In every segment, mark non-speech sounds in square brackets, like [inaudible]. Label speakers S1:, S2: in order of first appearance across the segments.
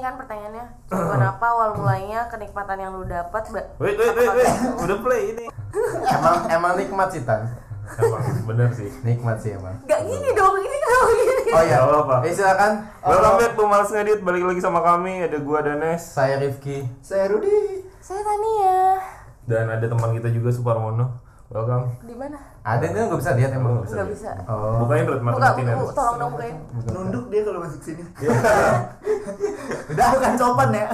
S1: kan pertanyaannya
S2: [clears throat]
S1: tujuan apa awal mulanya kenikmatan yang lu dapat mbak
S2: Wait, wait, wait, wait. Udah play ini.
S3: emang emang nikmat sih tan
S2: Emang bener sih.
S3: nikmat sih emang
S1: gak gini dong ini kalau gini
S3: oh iya
S2: Gak apa-apa.
S3: eh silakan
S2: Welcome back to Males Ngedit. Balik lagi sama kami. Ada gua ada Nes
S3: saya Rifki
S4: Saya Rudi.
S1: saya Tania
S2: dan ada teman kita juga Suparmono. Welcome.
S1: di mana
S3: ada itu nggak bisa lihat emang
S1: nggak bisa
S3: oh
S2: Bukain Rod
S1: buka
S2: Martin Iya.
S1: buku tolong dong ya. bukain
S4: Nunduk dia kalau masuk sini.
S3: udah
S4: Bukan sopan
S2: [laughs]
S4: ya.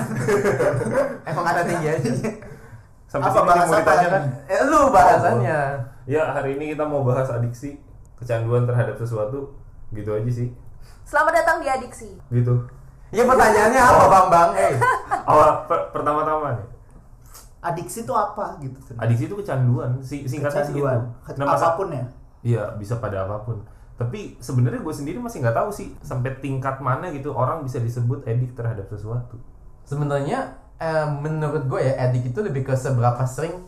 S3: emang ada tinggi aja [laughs]
S2: Sampai sini yang mau
S3: apa
S2: ditanya kan?
S3: eh, lu bahasannya
S2: Ya, hari ini kita mau bahas adiksi, kecanduan terhadap sesuatu. Gitu aja sih.
S1: selamat datang di adiksi
S2: Gitu.
S3: ya pertanyaannya apa bang bang eh
S2: Awal per- pertama-tama nih.
S4: Adiksi itu apa gitu?
S2: Adiksi itu kecanduan. Si singkatnya sih itu.
S4: Kecanduan. Ke-
S2: Nah, masa-
S4: apapun ya.
S2: Iya, bisa pada apapun. Tapi sebenarnya gue sendiri masih nggak tahu sih sampai tingkat mana gitu orang bisa disebut edik terhadap sesuatu.
S3: sebenarnya eh, menurut gue ya etik itu lebih ke seberapa sering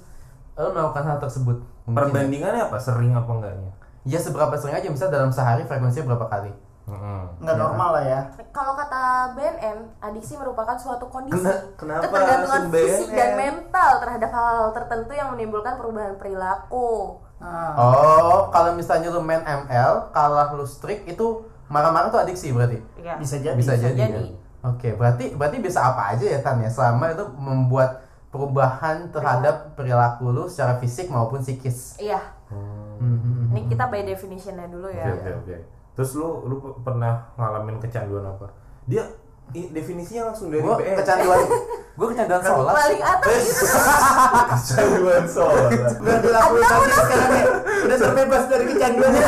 S3: lo melakukan hal tersebut
S2: ya.
S3: Mungkin.
S2: Perbandingannya apa? Sering apa enggaknya?
S3: ya seberapa sering aja misal dalam sehari frekuensinya berapa kali
S2: Mm-mm.
S4: Nggak normal lah ya.
S1: kalau kata BNN, adiksi merupakan suatu kondisi
S2: Kena- kenapa
S1: ketergantungan
S2: langsung
S1: fisik dan
S2: BNN?
S1: mental terhadap hal-hal tertentu yang menimbulkan perubahan perilaku.
S4: Nah,
S2: Ah.
S3: Oh, kalau misalnya lu main ML, kalah lu streak itu marah-marah tuh adiksi berarti.
S1: Iya.
S4: bisa jadi.
S3: bisa,
S1: bisa
S3: jadi.
S1: jadi.
S3: ya? Oke, berarti berarti bisa apa aja ya Tan ya selama itu membuat perubahan terhadap perilaku lu secara fisik maupun psikis.
S1: Iya.
S3: Mhm.
S1: Ini kita by definitionnya dulu
S2: Oke
S1: ya.
S2: oke oke. Terus lu lu p- pernah ngalamin kecanduan apa? Dia i- definisinya langsung dari
S3: Gua
S2: BN.
S3: kecanduan, gua kecanduan sholat.
S1: Paling atas gitu.
S2: kecanduan [laughs] soal.
S4: Udah dilakuin tapi sekarang ya. Udah terbebas dari kecanduan ya.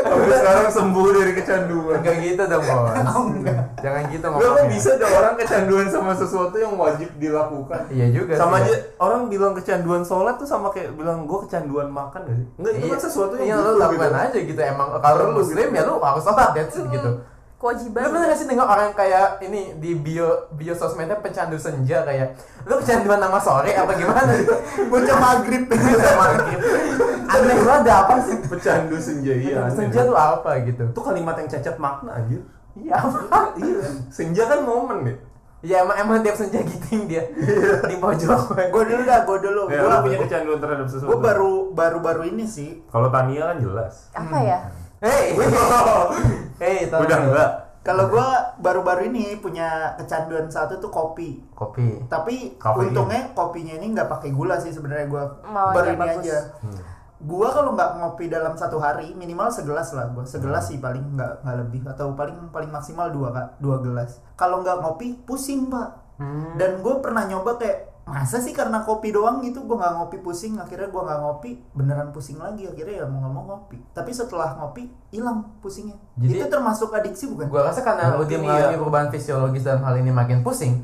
S2: Tapi sekarang sembuh dari kecanduan.
S3: Enggak gitu dong bos. Jangan gitu
S2: Gak kok
S3: ngomongnya.
S2: bisa ada orang kecanduan sama sesuatu yang wajib dilakukan.
S3: Iya juga.
S2: sama
S3: sih.
S2: aja orang bilang kecanduan sholat tuh sama kayak bilang gue kecanduan makan gak sih? Enggak itu
S3: Iya,
S2: kan sesuatu yang
S3: iya, lu
S2: butuh
S3: lakukan aja gitu emang kalau lu
S2: Perlu
S3: muslim ya lu harus sholat that's it gitu.
S1: Kewajiban.
S3: Lu pernah gak sih dengar orang kayak ini di bio bio sosmednya pecandu senja kayak lu kecanduan nama sore apa gimana [laughs] gitu?
S4: Bocah maghrib.
S3: Aneh banget ada apa sih?
S2: Pecandu senja iya.
S3: Pecandu
S2: aneh.
S3: senja tuh apa gitu?
S2: itu kalimat yang cacat makna anjir.
S3: Iya apa?
S2: iya. Senja kan momen ya.
S3: Ya emang emang tiap senja giting dia
S2: Iya.
S3: di pojok.
S4: Gue dulu dah, gue dulu.
S2: Ya,
S4: Gue
S2: lu punya kecanduan terhadap sesuatu.
S4: Gue baru baru-baru ini sih.
S2: Kalau Tania kan jelas.
S1: apa ya?
S2: Hmm. [laughs]
S3: Hei, hei, taruh.
S2: Udah enggak.
S4: Kalau gue baru-baru ini punya kecanduan satu tuh kopi.
S3: Kopi.
S4: tapi
S2: Kafein.
S4: untungnya kopinya ini nggak pakai gula sih sebenarnya gua
S1: Mawanya
S4: baru ini
S1: bagus.
S4: aja
S3: Hmm.
S4: gua kalau nggak ngopi dalam satu hari minimal segelas lah gua
S3: Hmm.
S4: segelas sih paling nggak nggak lebih atau paling paling maksimal dua Kak. dua gelas kalau nggak ngopi pusing pak
S3: Hmm.
S4: dan gue pernah nyoba kayak masa sih karena kopi doang gitu gue nggak ngopi pusing akhirnya gue nggak ngopi beneran pusing lagi akhirnya ya mau nggak mau ngopi tapi setelah ngopi hilang pusingnya
S3: Jadi-
S4: itu termasuk adiksi bukan
S3: Gua rasa karena lu
S2: Mungkin
S3: dia
S2: iya.
S3: mengalami perubahan fisiologis dalam hal ini makin pusing.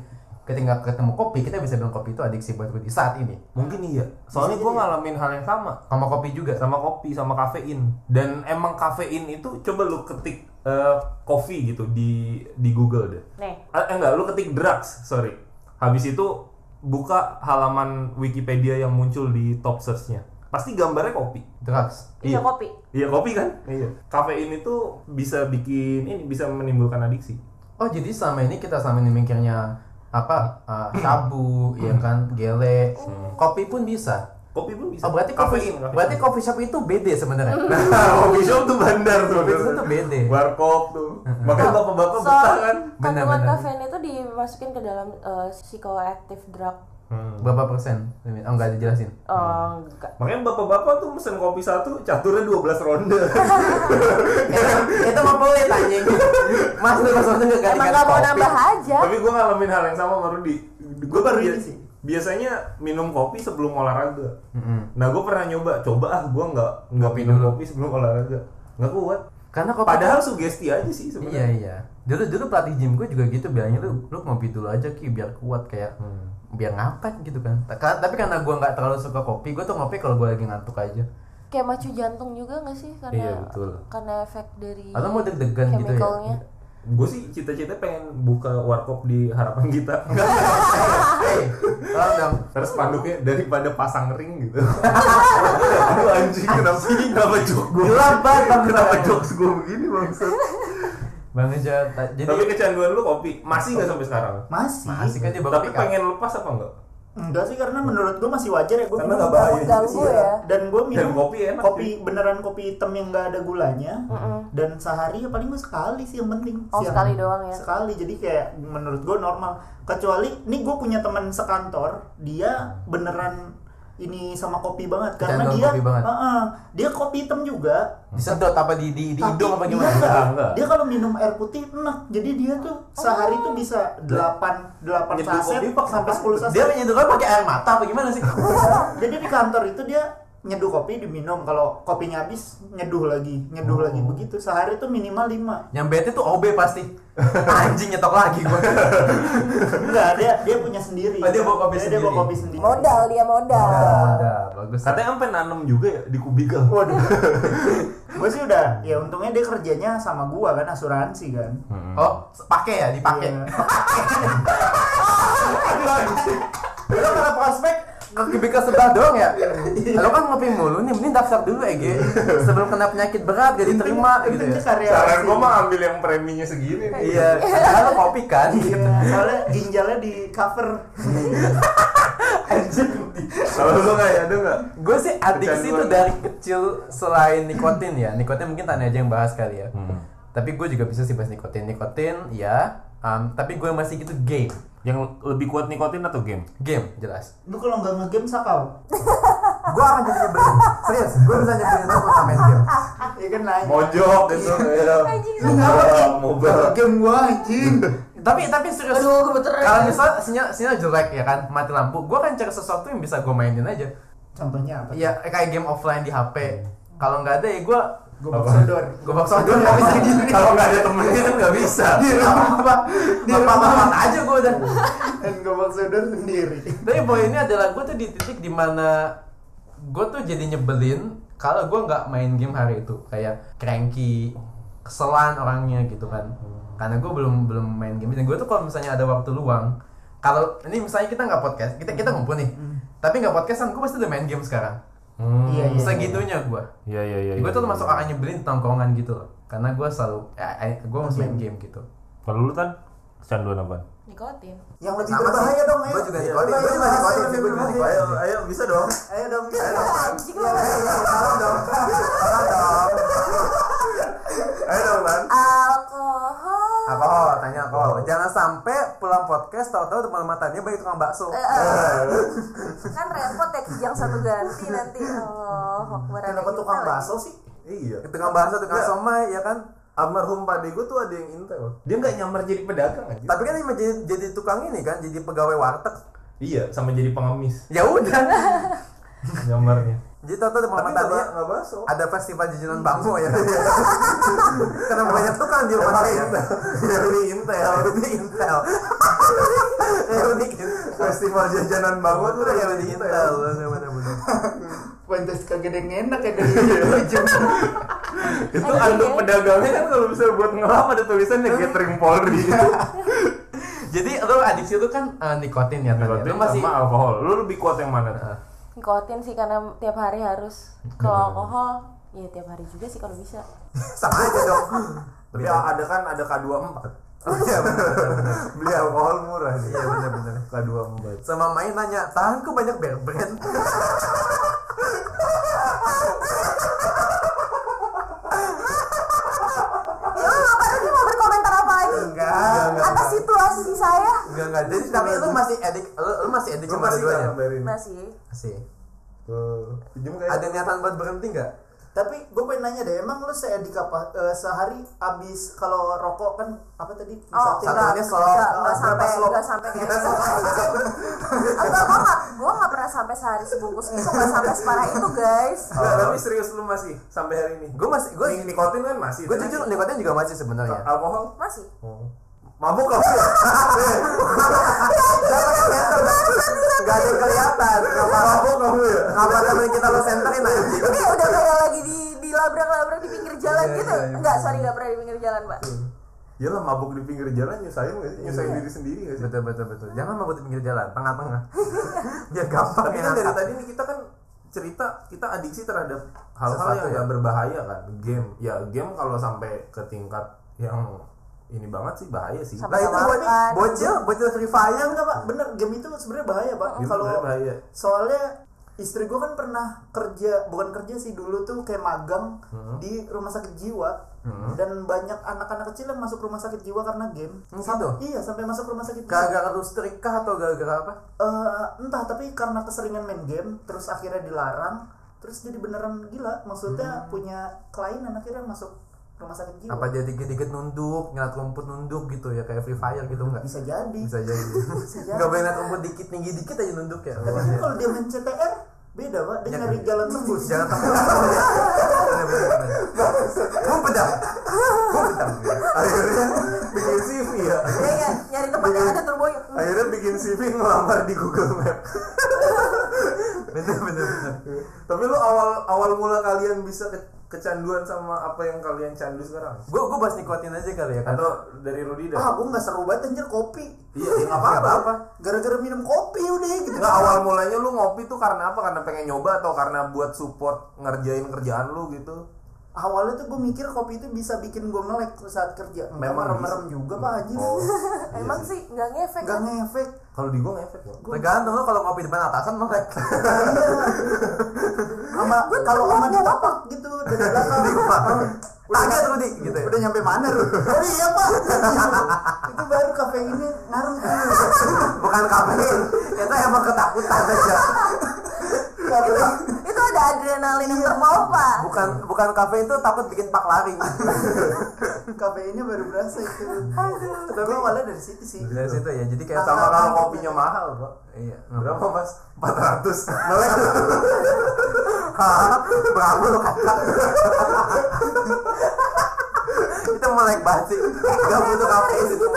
S3: Ketika ketemu kopi, kita bisa bilang kopi itu adiksi buat Budi saat ini.
S2: Mungkin iya. Soalnya gue ngalamin hal yang sama.
S3: Sama kopi juga.
S2: sama kopi sama kafein dan emang kafein itu coba lu ketik eh, kopi gitu di di Google deh
S1: Nih.
S2: Ah, eh, enggak lu ketik drugs sorry habis itu buka halaman Wikipedia yang muncul di top searchnya pasti gambarnya kopi
S3: Drugs.
S1: Iya
S2: Iya.
S1: kopi.
S2: iya kopi kan iya kafein itu bisa bikin ini bisa menimbulkan adiksi
S3: Oh jadi selama ini kita selama ini mikirnya apa uh, sabu, ya kan, gele,
S1: Hmm.
S3: kopi pun bisa.
S2: kopi pun bisa
S3: Oh berarti
S2: kafein,
S3: kopi,
S2: kafein.
S3: berarti coffee shop itu beda sebenarnya.
S1: Hmm.
S2: kopi shop tuh bandar tuh
S3: Kopi shop tuh beda.
S2: warkop tuh makanya bapak-bapak
S1: So,
S2: betah kan
S3: Benar,
S1: kandungan
S3: benar.
S1: kafein itu dimasukin ke dalam eh, psychoactive drug.
S2: Hmm.
S3: [laughs] Berapa persen? Oh nggak
S1: [laughs] Eh,
S3: dijelasin.
S1: enggak.
S2: Makanya bapak-bapak tuh pesen kopi satu, caturnya 12 ronde.
S3: itu mah boleh anjing. Mas lu pas nggak
S1: Emang nggak mau nambah aja.
S2: Tapi gue ngalamin hal yang sama baru di Gue
S4: baru ini sih.
S2: Biasanya minum kopi sebelum olahraga.
S3: Mm-mm.
S2: Nah gue pernah nyoba, coba ah gue nggak nggak
S3: Kopi
S2: minum
S3: dulu.
S2: kopi sebelum olahraga, nggak kuat.
S3: Karena
S5: Oh,
S3: kopi
S2: Padahal sugesti aja sih
S3: Iya
S2: sebenarnya.
S3: iya. Dulu dulu pelatih gym gue juga gitu bilangnya lu lu ngopi dulu aja ki biar kuat kayak
S1: Hmm.
S3: biar ngangkat gitu kan. Ta- ka- Tapi karena gue nggak terlalu suka kopi, gue tuh ngopi kalau gue lagi ngantuk aja.
S1: Kayak macu jantung juga nggak sih karena
S2: Iya, betul.
S1: karena efek dari
S3: Atau mau deg-degan gitu ya.
S1: chemicalnya.
S2: Gue sih cita-cita pengen buka warkop di harapan
S5: [laughs]
S2: kita.
S1: Ah.
S3: Hei, Eh, tolong dong.
S2: Terus panduknya daripada pasang ring
S5: [laughs]
S2: gitu. Aduh anjing kenapa kenapa jok gue?
S3: Gelap banget, Bang.
S2: Kenapa jokes gue begini maksud?
S3: Bang Eja, ta- jadi
S5: Tapi kecanduan lu kopi Eh, masih nggak sampai sekarang?
S4: Masih.
S3: masih kan dia baru
S5: Tapi
S3: pick up.
S5: pengen lepas apa enggak?
S4: Enggak sih karena menurut gue masih wajar ya gue
S2: Karena nggak bahaya juga
S1: Ganggu
S2: sih
S1: ya.
S4: Iya. dan gue
S5: Dan
S4: minum
S5: kopi enak.
S4: kopi beneran kopi hitam yang nggak ada gulanya
S1: Mm-mm.
S4: dan sehari ya paling gue sekali sih yang penting
S1: Oh,
S4: Siang.
S1: sekali doang ya.
S4: sekali jadi kayak menurut gue normal kecuali nih gue punya teman sekantor dia beneran ini sama kopi banget karena
S3: Kecanduan
S4: dia
S3: kopi banget.
S4: Heeh. dia kopi hitam juga
S3: disedot apa di di, di
S4: tapi
S3: hidung apa
S4: dia
S3: gimana?
S4: nggak-
S5: Enggak, enggak.
S4: dia kalau minum air putih enak jadi dia
S1: Oh.
S4: tuh sehari tuh bisa
S2: Nyeduh kopi pakai
S4: 8 8 saset sampai
S2: apa?
S4: 10 saset
S3: Dia menyedotnya pakai air mata apa gimana sih?
S4: jadi di kantor itu dia nyeduh kopi diminum kalau kopinya habis nyeduh lagi nyeduh lagi
S3: Oh.
S4: begitu sehari tuh minimal 5
S3: Yang bete tuh OB pasti. Anjing nyetok lagi gua.
S4: enggak dia dia punya sendiri
S3: Oh, dia bawa kopi
S4: dia bawa
S3: sendiri.
S4: kopi sendiri
S1: Modal dia modal.
S3: Udah, bagus.
S5: Katanya sampai nanam juga ya di kubikel.
S4: waduh [laughs] gue sih udah ya untungnya dia kerjanya sama gua kan asuransi kan
S5: Hmm.
S3: Oh, pakai ya, dipakai.
S4: Iya.
S3: Lo kalau prospek ke kubikel sebelah doang ya?
S4: Iya.
S3: Lo kan ngopi mulu nih, mending daftar dulu EG Sebelum kena penyakit berat gak diterima gitu
S4: Penting
S3: ya
S4: karya
S5: Saran
S4: sih.
S5: gua mah ambil yang preminya segini nih.
S3: Iya, karena lo kopi kan
S4: Iya, soalnya ginjalnya di cover
S5: Kalau lu nggak ya, ada nggak?
S3: Gue sih adiksi
S5: Kecanduan.
S3: tuh dari kecil selain nikotin ya Nikotin mungkin tanya aja yang bahas kali ya
S5: Hmm.
S3: Tapi gue juga bisa sih bahas nikotin Nikotin ya, um, tapi gue masih gitu game
S5: Yang lebih kuat nikotin atau game?
S3: Game, jelas
S4: lu kalau nggak ngegame sakau
S3: Gue akan jadi nyebelin, serius Gue bisa nyebelin lo kalau main game
S4: ya kan nanya
S5: Mojok gitu.
S4: lu ngapain
S5: Mobile.
S4: game gua anjing
S3: tapi tapi serius
S1: Aduh, gemeteran.
S3: kalau misal sinyal sinyal jelek ya kan mati lampu gue kan cari sesuatu yang bisa gue mainin aja
S4: contohnya apa
S3: ya kayak game offline di hp kalau nggak ada ya gue
S4: gue mau sodor
S3: gue bakso gue [laughs] nggak bisa di
S5: Kalau nggak ada temennya itu nggak bisa.
S3: di rumah apa apa apa aja gue udah
S4: dan gue mau sodor sendiri
S3: tapi poinnya adalah gue tuh di titik dimana gue tuh jadi nyebelin kalau gue nggak main game hari itu kayak cranky keselan orangnya gitu kan karena gue belum belum main game dan gue tuh kalau misalnya ada waktu luang kalau ini misalnya kita nggak podcast kita kita ngumpul nih tapi nggak podcastan gue pasti udah main game sekarang
S4: Hmm. iya iya
S3: segitunya gue
S5: Hmm, Iya iya iya.
S3: gue
S5: iya, iya.
S3: tuh termasuk orang nyebelin tongkongan gitu loh karena gue selalu ya, gue masih main
S4: Iya.
S3: game gitu
S4: [laughs]
S5: Kalau lu kan kecanduan apa?
S1: Nikotin.
S4: yang lebih
S3: Sama
S4: berbahaya
S3: sih.
S4: dong ya. Iya,
S3: Gua
S4: ayo
S3: juga nikotin,
S4: Ayo,
S3: gua juga
S4: ayo,
S3: nikotin,
S4: ayo,
S3: gua juga
S4: ayo,
S3: nikotin.
S2: Ayo, ayo bisa dong.
S4: iya. ayo dong ayo dong
S1: Anjing
S4: Iya,
S1: lu.
S2: Ayo dong, Lan.
S1: Alkohol.
S3: alkohol Oh, tanya alkohol jangan sampai pulang podcast tahu-tahu teman matanya banyak tukang bakso
S1: Eh, eh. kan repot ya kijang satu ganti nanti Oh, Allah Akbar ada
S4: kenapa
S1: juga
S4: tukang
S1: lagi.
S4: bakso sih
S2: Iya.
S3: tukang bakso tukang
S2: Nggak.
S3: somai ya kan
S2: Iya. Almarhum pade gue tuh ada yang intel.
S5: Dia nggak nyamar jadi pedagang aja.
S3: tapi kan ini jadi, jadi tukang ini kan jadi pegawai warteg
S5: Iya, sama jadi pengemis
S3: ya udah
S5: nyamarnya.
S3: [laughs] jadi tahu-tahu teman
S2: [laughs] Tapi Iya. nggak
S3: matanya
S2: ba- nggak baso.
S3: ada festival jajanan bambu ya [laughs] karena banyak tukang di rumah
S2: Iya,
S3: saya Iya,
S2: Yang ini Iya, intel.
S3: Yang ini [laughs] intel Yang ini Iya, intel
S2: Festival jajanan bangun tuh
S3: Yang
S2: yang
S3: ini intel Iya,
S2: intel.
S3: bener-bener
S4: pantas iya. kagak ada yang enak ya dari ujung
S5: Itu
S1: Ada
S5: anduk
S1: ya?
S5: pedagangnya kan kalau bisa buat ngelap ada tulisannya catering Polri.
S3: [laughs] jadi lo adiksi itu kan eh, nikotin ya tadi
S5: Nikotin
S3: lo masih
S5: sama alkohol. Lu lebih kuat yang mana? tuh?
S1: nikotin sih karena tiap hari [laughs] harus kalau alkohol ya tiap hari juga sih kalau bisa
S3: sama aja dong
S5: [laughs]
S2: Tapi ada kan ada K24.
S3: [laughs] iya bener-bener
S2: Beli alkohol murah sih.
S3: iya bener-bener
S2: K24.
S3: sama main nanya tanganku banyak bear brand
S1: ya lu ngapain lagi mau berkomentar apa lagi atas situasi saya
S3: enggak enggak jadi tapi lu masih edik lu, lu masih edik
S2: Lu
S3: sama
S2: masih nggak
S5: ya?
S3: keduanya
S2: gambarin?
S1: masih
S3: masih
S2: Tuh, pinjem kayak
S3: ada niatan buat berhenti enggak
S4: tapi gue pengen nanya deh emang lu seedik apa eh, sehari abis kalau rokok kan apa tadi
S1: Oh,
S4: Satu-
S3: satunya
S1: enggak,
S3: slow.
S1: enggak, enggak
S4: Ah,
S1: sampai,
S4: berapa slow?
S1: enggak sampai kayak gitu. Enggak, gua enggak, gua enggak pernah sampai sehari sebungkus itu, enggak sampai separah itu, guys.
S2: Nggak, tapi serius lu masih sampai hari ini.
S3: gue masih gue
S2: Nik- nikotin kan masih.
S3: gue
S2: tapi
S3: jujur nikotin juga masih sebenarnya
S2: alkohol
S1: Masih.
S2: mabuk kau.
S3: enggak ada yang kelihatan kenapa
S2: Mabuk kamu ya.
S3: kenapa temen kita lo senterin anjing
S1: Ini udah kayak lagi di dilabrak-labrak di pinggir jalan
S3: Iya,
S1: gitu.
S3: iya, iya.
S1: Enggak, sorry enggak pernah di pinggir jalan, Pak.
S2: [laughs] Iyalah mabuk di pinggir jalan nyusahin nggak sih? Nyusahin diri sendiri nggak sih?
S3: betul betul betul jangan mabuk di pinggir jalan tengah-tengah [laughs] biar gampang ya,
S2: Tapi kan
S3: yang
S2: dari
S3: angkat.
S2: tadi nih kita kan cerita kita adiksi terhadap hal-hal
S3: Sesuatu
S2: yang
S3: ya.
S2: nggak berbahaya kan game ya game kalau sampai ke tingkat yang ini banget sih bahaya sih.
S1: Sama-
S4: Nah itu
S1: Sama
S4: buat
S1: kan.
S4: bocil, bocil Free Fire
S3: kan?
S4: enggak pak? Bener, game itu sebenarnya bahaya pak.
S2: Game
S4: Kalau
S2: sebenarnya bahaya.
S4: soalnya istri gue kan pernah kerja, bukan kerja sih dulu tuh kayak magang
S2: Hmm.
S4: di rumah sakit jiwa dan banyak anak-anak kecil yang masuk rumah sakit jiwa karena game.
S2: Hmm,
S4: Sam-
S2: gitu?
S4: Iya sampai masuk rumah sakit jiwa.
S2: Gara-gara lustrik kah atau gara-gara apa?
S4: Eh, entah tapi karena keseringan main game, terus akhirnya dilarang, terus jadi beneran gila.
S2: Hmm.
S4: Maksudnya punya kelainan akhirnya masuk rumah sakit jiwa.
S3: apa dia dikit-dikit nunduk ngeliat rumput nunduk gitu ya kayak free fire gitu enggak
S4: Bisa jadi.
S3: bisa jadi [laughs]
S4: jadi.
S3: nggak boleh ngeliat rumput dikit tinggi dikit aja nunduk ya
S4: Tapi [laughs] kan kalau dia main CTR beda pak, dia nyari jalan tembus.
S3: jangan takut Bener, bener, bener.
S2: Gue pedang. Gue pedang. Akhirnya bikin CV ya.
S1: Iya, iya, nyari tempat yang ada turbonya.
S2: Akhirnya bikin CV ngelamar di Google Map.
S3: [laughs] bener bener bener
S2: Tapi lu awal awal mula kalian bisa ke- kecanduan sama apa yang kalian candu sekarang?
S3: gue gue bahas nikotin aja kali ya kan
S2: Atau dari Rudi dah?
S4: Ah, gue nggak seru banget anjir kopi.
S2: ya. Iya, ya nggak apa-apa. apa.
S4: Gara-gara minum kopi udah gitu.
S2: Nggak, awal mulanya lu ngopi tuh karena apa? Karena pengen nyoba atau karena buat support ngerjain kerjaan lu gitu?
S4: Awalnya tuh gue mikir kopi itu bisa bikin gue melek saat kerja. Enggak,
S2: Memang
S4: merem-merem juga pak anjir.
S2: Oh,
S1: Emang sih nggak ngefek. kan?
S4: Gak ngefek.
S2: kalau di gua ngefek ya.
S3: tergantung lo kalau ngopi depan atasan melek
S4: Iya. Sama kalau sama di tapak gitu dari belakang.
S3: Kaget lu di gitu ya
S4: Udah nyampe mana lu? Oh iya pak. itu baru kafe ini ngaruh tuh.
S3: bukan kafein itu emang ketakutan aja
S1: Itu, itu ada adrenalin yang terpompa.
S3: bukan bukan kafein itu takut bikin pak lari
S4: Kafeinnya baru berasa itu. Tapi gue malah dari situ sih.
S3: dari situ ya jadi kayak
S2: Sama
S3: sama
S2: kalau kopinya mahal, Pak.
S3: iya
S2: Berapa, Mas? 400. Melek. Hah? Berapa lu kakak?
S3: kita melek banget sih nggak butuh kafein itu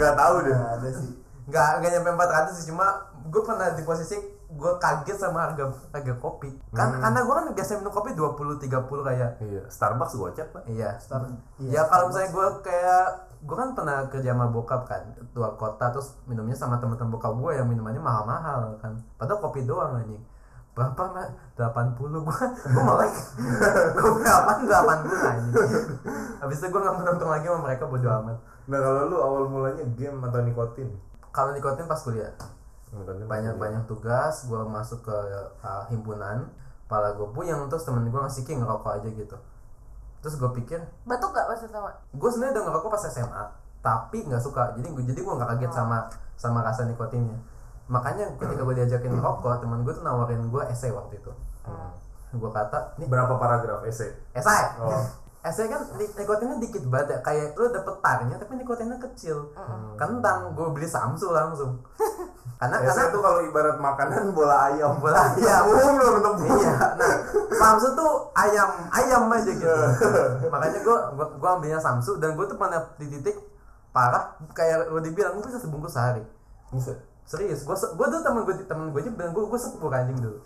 S2: Nggak tahu deh.
S4: Nggak Nah, ada sih.
S3: nggak nggak nyampe 400 sih cuma gue pernah di posisi gue kaget sama harga harga kopi kan karena gue kan biasa minum kopi 20 30 kayak
S2: Iya, Starbucks gocap, Pak.
S3: iya
S4: Star-
S3: ya kalau misalnya gue kayak gue kan pernah kerja sama bokap kan tua kota terus minumnya sama temen-temen bokap gue yang minumannya mahal-mahal kan padahal kopi doang anjing berapa mah 80 gue gue melek [laughs] gue berapa 80 anjing habis itu gue nggak menonton lagi sama mereka bodo amat
S2: Nah, kalau lu awal mulanya game atau nikotin?
S3: kalau nikotin pas kuliah
S2: Nikotin
S3: banyak
S2: apa?
S3: banyak tugas gue masuk ke uh, himpunan pala gue puyeng terus temen gue ngasih king ngerokok aja gitu terus gue pikir
S1: Batuk gak maksudnya? Mak?
S3: gue sebenarnya udah ngerokok pas SMA tapi nggak suka jadi gue jadi gue nggak kaget sama sama rasa nikotinnya makanya ketika gue diajakin ngerokok teman gue tuh nawarin gue esai waktu itu gue kata nih
S2: Berapa paragraf esai?
S3: esai
S2: Oh.
S3: esai kan ni- nikotinnya dikit banget ya kayak lu dapet tarnya tapi nikotinnya kecil kentang gue beli samsu langsung
S2: Nah,
S3: karena karena Iya,
S2: Esai itu kalau ibarat makanan bola ayam.
S3: Bola ayam.
S2: Tepung belum tepung.
S3: iya nah Samsu tuh ayam ayam aja gitu makanya gue gua, gua ambilnya Samsu dan gue tuh pernah di titik parah kayak lo dibilang gue bisa sebungkus sehari
S2: Buset.
S3: serius gue gue tuh temen gue temen gue aja bilang gue gue sepuluh anjing dulu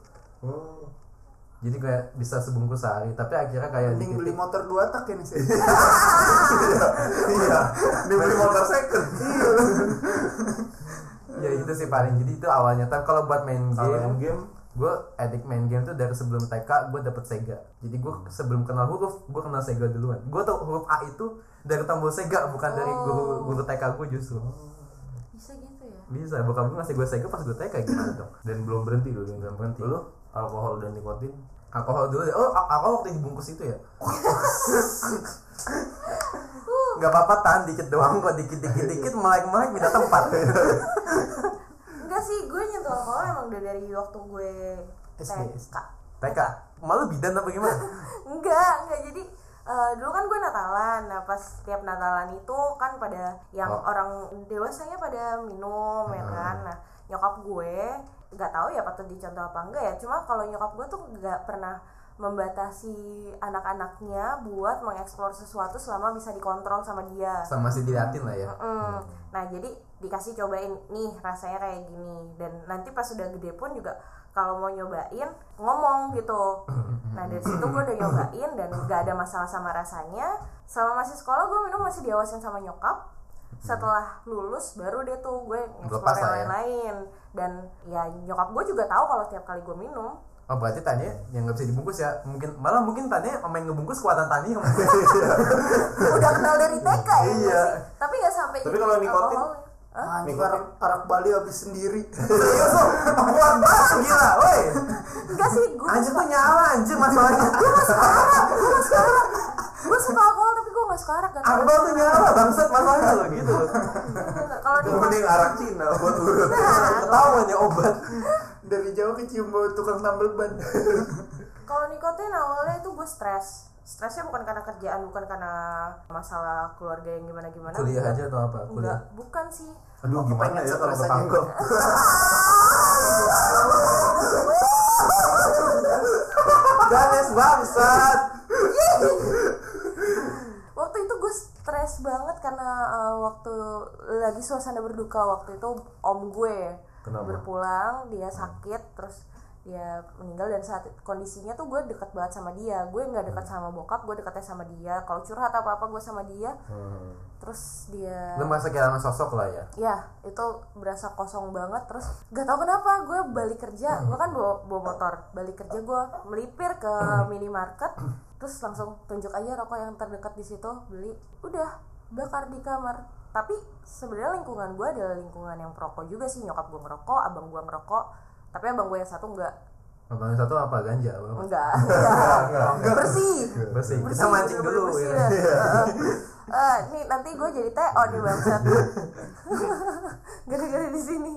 S2: Oh.
S3: jadi gue bisa sebungkus sehari tapi akhirnya kayak gitu. di
S4: Mending beli
S3: titik
S4: motor dua tak ya nih sih.
S2: Iya, dibeli motor second.
S3: ya itu sih paling jadi itu awalnya tapi kalau buat main
S2: Kalau yang gitu.
S3: game
S2: game
S3: gue addict main game tuh dari sebelum TK gue dapet Sega jadi gue sebelum kenal huruf gue kenal Sega duluan gue tau huruf A itu dari tombol Sega bukan dari guru guru TK gue justru
S1: Bisa gitu ya?
S3: bisa bokap gue ngasih gue Sega pas gue TK gimana dong
S2: dan belum berhenti lu dengan
S3: Belum berhenti.
S2: Lu alkohol dan nikotin.
S3: alkohol dulu deh. oh al- alkohol waktu dibungkus itu ya nggak apa-apa tahan dikit doang kok dikit dikit dikit melek melek minta tempat [laughs]
S1: Enggak sih, gue nyentuh alkohol emang udah dari waktu gue
S4: SD.
S1: TK.
S3: TK malu bidan apa gimana
S1: Enggak, enggak jadi eh, dulu kan gue Natalan, nah pas tiap Natalan itu kan pada yang
S3: Oh.
S1: orang dewasanya pada minum ya kan, nah nyokap gue nggak tahu ya patut dicontoh apa enggak ya, cuma kalau nyokap gue tuh nggak pernah membatasi anak-anaknya buat mengeksplor sesuatu selama bisa dikontrol sama dia.
S3: sama si diliatin lah ya
S1: Mm. Nah jadi dikasih cobain nih rasanya kayak gini dan nanti pas udah gede pun juga kalau mau nyobain ngomong gitu. Nah dari situ gue udah nyobain dan gak ada masalah sama rasanya. Selama masih sekolah gue minum masih diawasin sama nyokap. Setelah lulus baru deh tuh gue
S3: Lepas
S1: ngeksplor
S3: lah
S1: yang
S3: ya.
S1: lain-lain dan ya nyokap gue juga tahu kalau tiap kali gue minum
S3: Oh berarti tanya yang nggak bisa dibungkus ya mungkin malah
S2: [laughs]
S3: mungkin tanya pemain ngebungkus kekuatan tanya
S1: udah kenal dari TK ya. gua
S3: Iya.
S1: sih. Tapi
S2: Tapi kalau nikotin,
S1: alkoholnya. Hah?
S4: Anjing
S2: Nikotin.
S4: arak, arak Bali habis sendiri.
S2: serius
S3: oh.
S2: lu, kuat banget gila, woi.
S1: enggak sih gue
S2: Anjir tuh nyala anjir [laughs] masalahnya.
S1: gue suka alkohol tapi gue gak suka arak gak tau
S2: Akbar tuh nyala bangsat masalahnya lo gitu. loh.
S1: kalau di
S2: Gua Mending arak Cina buat urut.
S3: Ketahuan ya obat.
S4: Dari jauh kecium bau tukang tambal ban.
S1: kalau nikotin awalnya itu gue stres stresnya bukan karena kerjaan bukan karena masalah keluarga yang gimana gimana
S3: Kuliah aja atau apa?
S1: enggak
S3: Kuliah.
S1: bukan sih
S2: Aduh gimana ya kalau
S4: Rasanya.
S2: ketangkep.
S3: Ganes bangsat.
S1: waktu itu gue stres banget karena eh, waktu lagi suasana berduka waktu itu om gue
S2: Kenapa?
S1: berpulang dia sakit terus dia meninggal dan saat kondisinya tuh gue deket banget sama dia gue nggak deket sama bokap gue deketnya sama dia kalau curhat apa apa gue sama dia terus dia
S3: Lu masa kehilangan sosok lah ya.
S1: ya itu berasa kosong banget terus gak tau kenapa gue balik kerja gue kan bawa, bawa motor balik kerja gue melipir ke minimarket terus langsung tunjuk aja rokok yang terdekat di situ beli udah bakar di kamar tapi sebenarnya lingkungan gue adalah lingkungan yang perokok juga sih nyokap gue ngerokok abang gue ngerokok tapi abang gue yang satu enggak
S3: Abang yang satu apa ganja? Apa?
S1: enggak enggak, bersih
S3: Bersih.
S1: Bersih,
S3: Kita mancing
S1: bener-bener
S3: dulu [laughs]
S1: bersih Iya,
S3: ya.
S1: dah. Heeh. Eh, nih nanti gue jadi TO nih
S3: [laughs]
S1: bangsat gara-gara di sini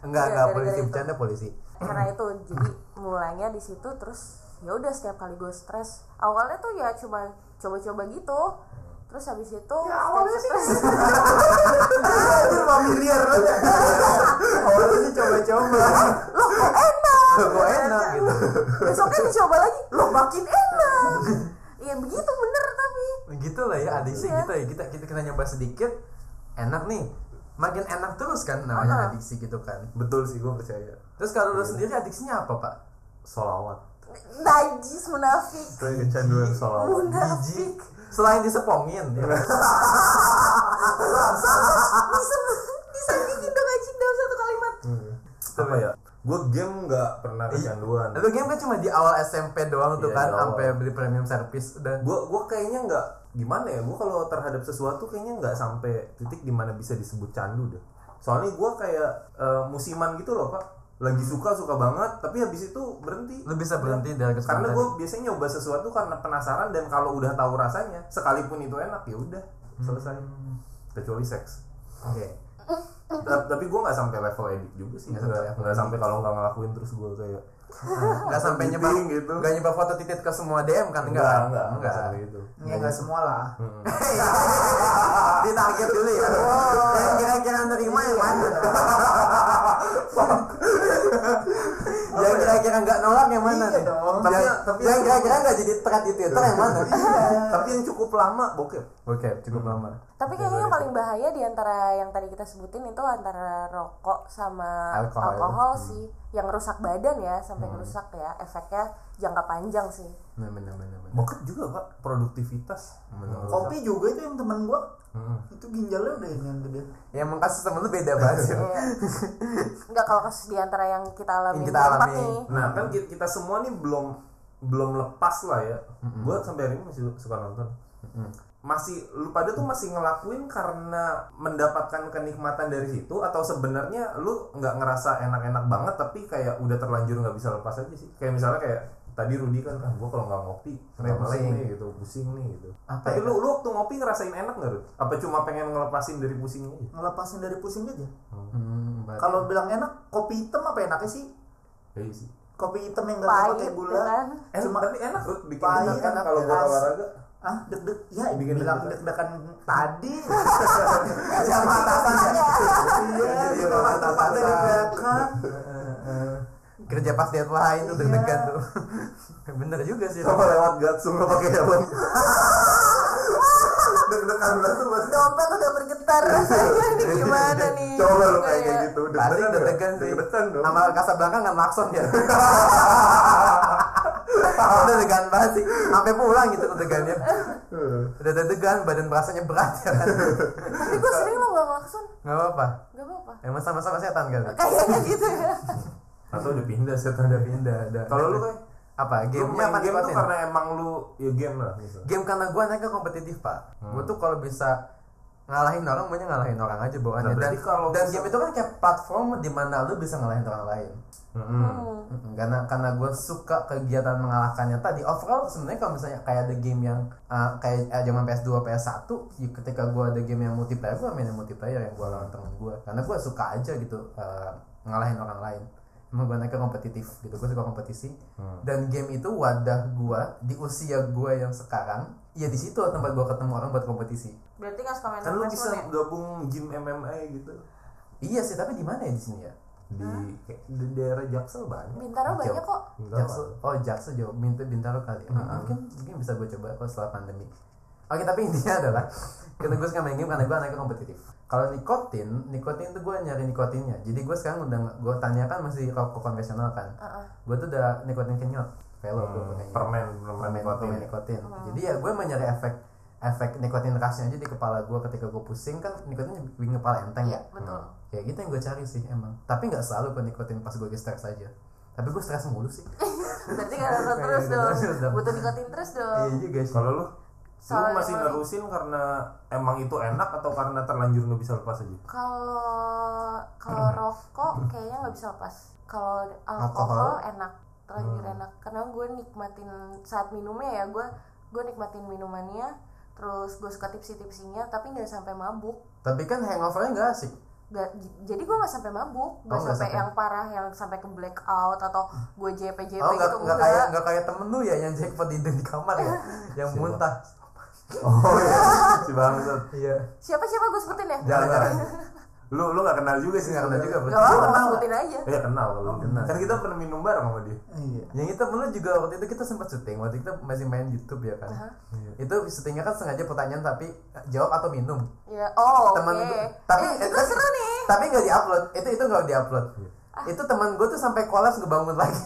S3: Enggak,
S1: Iya,
S3: enggak
S1: gara-gara
S3: polisi
S1: itu.
S3: bercanda polisi.
S1: karena itu jadi mulainya di situ terus ya udah setiap kali gue stres awalnya tuh ya cuma coba-coba gitu terus habis itu
S3: Ya,
S1: setiap stres
S3: gitu.
S2: Anjir familiar banget.
S3: Polisi coba-coba.
S1: [laughs] loh kok enak
S3: [laughs]
S1: kan.
S3: Kok enak gitu.
S1: besoknya dicoba lagi loh makin enak [laughs] ya begitu bener tapi
S3: Gitu lah ya adiksi
S1: Iya.
S3: gitu ya. Kita kita kena nyoba sedikit enak nih. Makin enak terus kan
S1: Ah.
S3: namanya adiksi gitu kan.
S2: Betul sih gue percaya.
S3: Terus kalau lu sendiri adiksinya apa, Pak?
S2: Solawat.
S1: najis
S3: [laughs]
S1: munafik
S2: Saya kecanduan solawat.
S1: munafik
S3: Biji. Selain disepongin. ya.
S1: bisa bisa bikin dong anjing dalam satu kalimat
S2: Apa ya? Gue game nggak pernah kecanduan.
S3: Lu game kan cuma di awal SMP doang tuh
S2: Iya,
S3: kan
S2: di awal.
S3: sampai beli premium service udah.
S2: Gue gue kayaknya nggak gimana ya? Gue kalau terhadap sesuatu kayaknya nggak sampai titik dimana bisa disebut candu deh. Soalnya gue kayak eh, musiman gitu loh pak. Lagi suka suka banget, tapi habis itu berhenti.
S3: Lu bisa berhenti dari kesempatan.
S2: karena gue biasanya nyoba sesuatu karena penasaran dan kalau udah tahu rasanya sekalipun itu enak ya udah selesai kecuali seks
S3: Oke.
S2: Ta- tapi gue nggak sampai level edit juga sih nggak
S3: Nggak sampai level
S2: nggak sampai kalau nggak ngelakuin terus gue kayak
S3: Enggak sampai nyebar
S2: Giting gitu.
S3: Enggak nyebar foto titik ke semua DM kan Ah, enggak?
S2: enggak enggak enggak sampai itu
S4: Ya enggak semua lah.
S3: [laughs] Ditarget dulu ya. Yang kira-kira nerima yang mana? [laughs] yang kira-kira enggak nolak yang mana?
S4: Iya
S3: nih?
S4: dong.
S2: tapi
S3: Yang-
S2: tapi
S3: yang kira-kira enggak jadi thread di Twitter yang mana?
S4: Iya.
S2: tapi yang cukup lama bokep
S3: Oke, cukup lama.
S1: Tapi kayaknya yang paling bahaya di antara yang tadi kita sebutin itu antara rokok sama
S3: Alkohol.
S1: alkohol, sih, yang rusak badan ya sampai rusak ya, efeknya jangka panjang sih.
S3: Nah, benar benar benar.
S2: bokep juga pak produktivitas menurut
S4: Kopi juga itu yang temen gua.
S2: Hmm.
S4: Itu ginjalnya udah ini yang gede.
S3: Yang mengkasus Ya, temen lu beda banget sih.
S1: Iya. Enggak kalau kasus di antara yang kita alami
S3: Yang kita
S1: berempat
S3: alami.
S1: nih.
S2: nah kan ki- kita semua nih belum belum lepas lah ya gue sampai hari ini masih suka nonton masih lu pada tuh masih ngelakuin karena mendapatkan kenikmatan dari situ atau sebenarnya lu nggak ngerasa enak-enak banget tapi kayak udah terlanjur nggak bisa lepas aja sih kayak misalnya kayak tadi Rudi kan ah gue kalau nggak ngopi kayak pusing
S3: pusing.
S2: nih gitu pusing nih gitu
S3: Apa
S2: tapi
S3: ya?
S2: lu lu waktu ngopi ngerasain enak nggak Rud? apa cuma pengen ngelepasin dari pusingnya aja
S4: Ngelepasin dari pusing aja.
S3: Hmm, berarti-
S4: Kalau bilang enak, kopi hitam apa enaknya sih?
S2: Iya sih.
S4: Kopi hitam yang enggak
S1: Pahit
S4: pakai
S1: ya
S4: gula.
S1: kan.
S2: Enak,
S4: Cuma-
S2: tapi enak Rud bikin
S4: Pahit,
S2: enak kan
S4: enak,
S2: kalau gua
S4: keras.
S2: olahraga
S4: Ah, deg-deg. Ya,
S2: Bikin
S4: bilang
S2: deg-degan.
S4: deg-degan tadi. [laughs]
S3: jam atasan ya.
S4: Iya,
S3: Jadi
S4: bilang
S3: orang
S4: deg-degan dari
S3: atasan.
S4: belakang.
S3: Kerja pas deadline tuh deg-degan
S4: Iya.
S3: tuh. [laughs] Bener juga sih.
S2: sama lewat gatsung lo pakai helm deg-degan banget tuh, Mas.
S1: Dompet udah bergetar rasanya [laughs] ini gimana nih?
S2: coba lo kayak
S1: Kayak-
S2: gitu
S3: Pasti
S2: deg-degan
S3: deg-degan
S2: dong.
S3: sih.
S2: deg-degan dong
S3: Sama Casablanca nggak lakson
S2: [laughs]
S3: ya. Udah degan banget sih. Sampai pulang gitu degannya.
S2: Heeh.
S3: Udah deg-degan, badan berasanya berat ya kan.
S1: Tapi gue sering lo gak ngelakson,
S3: Nggak apa-apa.
S1: gak apa-apa.
S3: Emang sama-sama setan kali.
S1: Kayaknya gitu ya.
S2: atau udah pindah setan
S3: Udah pindah, udah.
S2: kalau lu kayak
S3: apa?
S2: game
S3: Gamenya
S2: main
S3: apa
S2: game tuh
S3: nikotin?
S2: karena emang lu ya game lah gitu Hmm.
S3: game karena gue anaknya kompetitif pak gue tuh kalau bisa ngalahin orang banyak ngalahin orang aja bawaannya
S2: Nah,
S3: dan
S2: berarti kalau
S3: dan
S2: bisa-
S3: game itu kan kayak platform di mana lu bisa ngalahin orang lain
S1: Hmm.
S3: Mm-mm, karena karena gue suka kegiatan mengalahkannya tadi overall sebenarnya kalau misalnya kayak ada game yang uh, kayak uh, zaman PS2 PS1 ya ketika gue ada game yang multiplayer gue main yang multiplayer yang gue lawan temen gue karena gue suka aja gitu uh, ngalahin orang lain emang gue anaknya kompetitif gitu gue suka kompetisi dan game itu wadah gue di usia gue yang sekarang ya di situ tempat gue ketemu orang buat kompetisi
S1: Berarti nggak suka main
S2: kan lu
S1: PS1
S2: bisa
S1: ya?
S2: gabung gym MMA gitu
S3: iya sih tapi di mana ya di sini ya
S2: di, kayak di daerah Jaksel banyak
S1: Bintaro
S3: Jauh.
S1: banyak kok.
S2: Enggak lah.
S3: Jakso, oh Jakso jauh, Bint- Bintaro kali. ya. Mungkin mungkin bisa gue coba kalau setelah pandemi. Oke, tapi intinya [laughs] adalah karena gue suka main game karena gue anaknya kompetitif. Kalau nikotin, nikotin itu gue nyari nikotinnya. Jadi gue sekarang udah nggak- gue tanya kan masih rokok konvensional kan.
S1: Heeh.
S3: Gue tuh udah nikotin kenyot, velo gue
S2: Hmm,
S3: pakainya.
S2: permen permen
S3: permen
S2: nikotin.
S3: permen nikotin. Jadi ya gue mau nyari efek efek nikotin rasnya aja di kepala gue ketika gue pusing kan nikotinnya bikin kepala enteng
S1: Iya,
S3: ya.
S1: betul.
S3: Kayak gitu yang gue cari sih emang. Tapi nggak selalu gue nikotin pas gue lagi stres aja. Tapi gue stres mulu sih.
S1: Berarti nggak ada
S3: Iya,
S1: terus
S3: iya,
S1: dong.
S3: terus dong.
S1: Butuh nikotin terus dong.
S3: Iya juga sih.
S2: kalau lu
S1: Soalnya
S2: lu masih
S1: kalau-
S2: nerusin karena emang itu enak atau karena terlanjur nggak bisa lepas
S3: [laughs]
S2: aja
S1: Kalau kalau rokok kayaknya nggak bisa lepas. Kalau alkohol enak, terlanjur
S3: Hmm.
S1: enak. Karena gue nikmatin saat minumnya ya gue gue nikmatin minumannya. Terus gue suka tipsi-tipsinya, tapi nggak sampai mabuk.
S3: Tapi kan hangovernya nggak asik.
S1: Gak, j- jadi gue nggak sampai mabuk,
S3: Oh,
S1: gak
S3: nggak
S1: sampai
S3: sampai.
S1: yang parah, yang sampai ke blackout atau gue JP JP
S3: Oh nggak
S1: gitu
S3: nggak kayak nggak kayak temen lu ya yang jackpot tidur di kamar ya, yang muntah.
S2: oh iya si bangsat
S3: Iya.
S1: Siapa siapa gue sebutin ya?
S3: Jangan jangan.
S2: lu lu nggak kenal juga sih
S3: Nggak kenal juga
S1: Gak
S3: [laughs] berarti.
S1: apa-apa, gue sebutin aja.
S2: ya kenal kalau lu.
S3: kenal.
S2: kan kita pernah minum bareng sama dia
S4: Iya.
S3: Yang itu temen lu juga waktu itu kita sempat syuting waktu kita masih main YouTube ya kan. Itu syutingnya kan sengaja pertanyaan tapi eh, jawab atau minum.
S1: Ya, oh, oke.
S3: Eh, Temen gua- tapi-
S1: eh, itu seru nih.
S3: Tapi nggak diupload. Itu itu nggak diupload. Itu teman gue tuh sampai kolaps ngebangun lagi.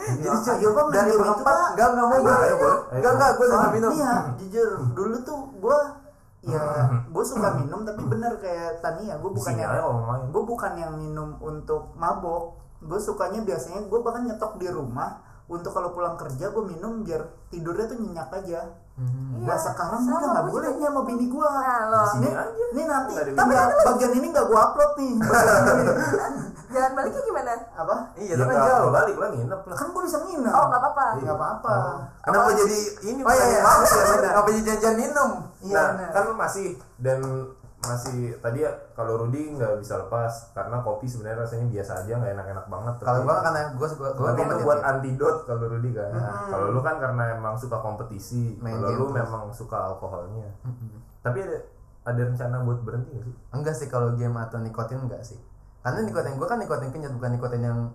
S3: Jadi
S4: Iya, ayo bang,
S3: dari
S4: minum itu,
S3: berempat
S4: Pak.
S3: nggak nggak mau gue.
S2: Ayo, boleh.
S3: Nggak nggak gue udah
S4: Soalnya
S3: minum.
S4: iya, jujur dulu tuh gue ya gue suka minum tapi bener kayak Tania gue bukan
S3: Iya.
S2: Isinya
S4: yang
S2: aja kalau main
S4: gue bukan yang minum untuk mabok gue sukanya biasanya gue bahkan nyetok di rumah untuk kalau pulang kerja gue minum biar tidurnya tuh nyenyak aja Nah
S1: Iya,
S4: sekarang gue
S1: sama,
S4: udah gak
S1: gua
S4: boleh
S1: juga.
S4: nih sama bini gue
S1: Nah, lo.
S2: Sini
S4: Nih,
S2: aja.
S4: nih nanti
S2: Nggak ada
S4: tapi
S2: bini.
S4: bagian ini gak gue upload [laughs] nih
S1: Jalan baliknya gimana?
S4: apa
S2: ya
S3: Iya, itu kan
S2: nggak
S3: jauh.
S2: balik lah nginep lah
S4: kan gue bisa nginep Iya,
S1: Oh, nggak apa-apa.
S4: nggak apa-apa Oh.
S2: kenapa jadi ini
S3: Oh iya, iya.
S2: Maaf ya, Nina.
S3: Kenapa jadi janjian minum?
S4: Iya,
S2: nah,
S4: benar.
S2: kan masih dan masih tadi ya kalau Rudy nggak bisa lepas karena kopi sebenarnya rasanya biasa aja nggak enak-enak banget tapi-
S3: Kalau gua kan karena gua gua gua
S2: tapi itu
S3: kompetitif.
S2: buat antidot kalau Rudy kan kalau lu kan karena emang suka kompetisi
S3: Main
S2: kalau
S3: game
S2: lu
S3: terus.
S2: memang suka alkoholnya tapi ada ada rencana buat berhenti gak sih [laughs]
S3: enggak sih kalau game atau nikotin enggak sih. Karena nikotin gua kan nikotin kenyat bukan nikotin yang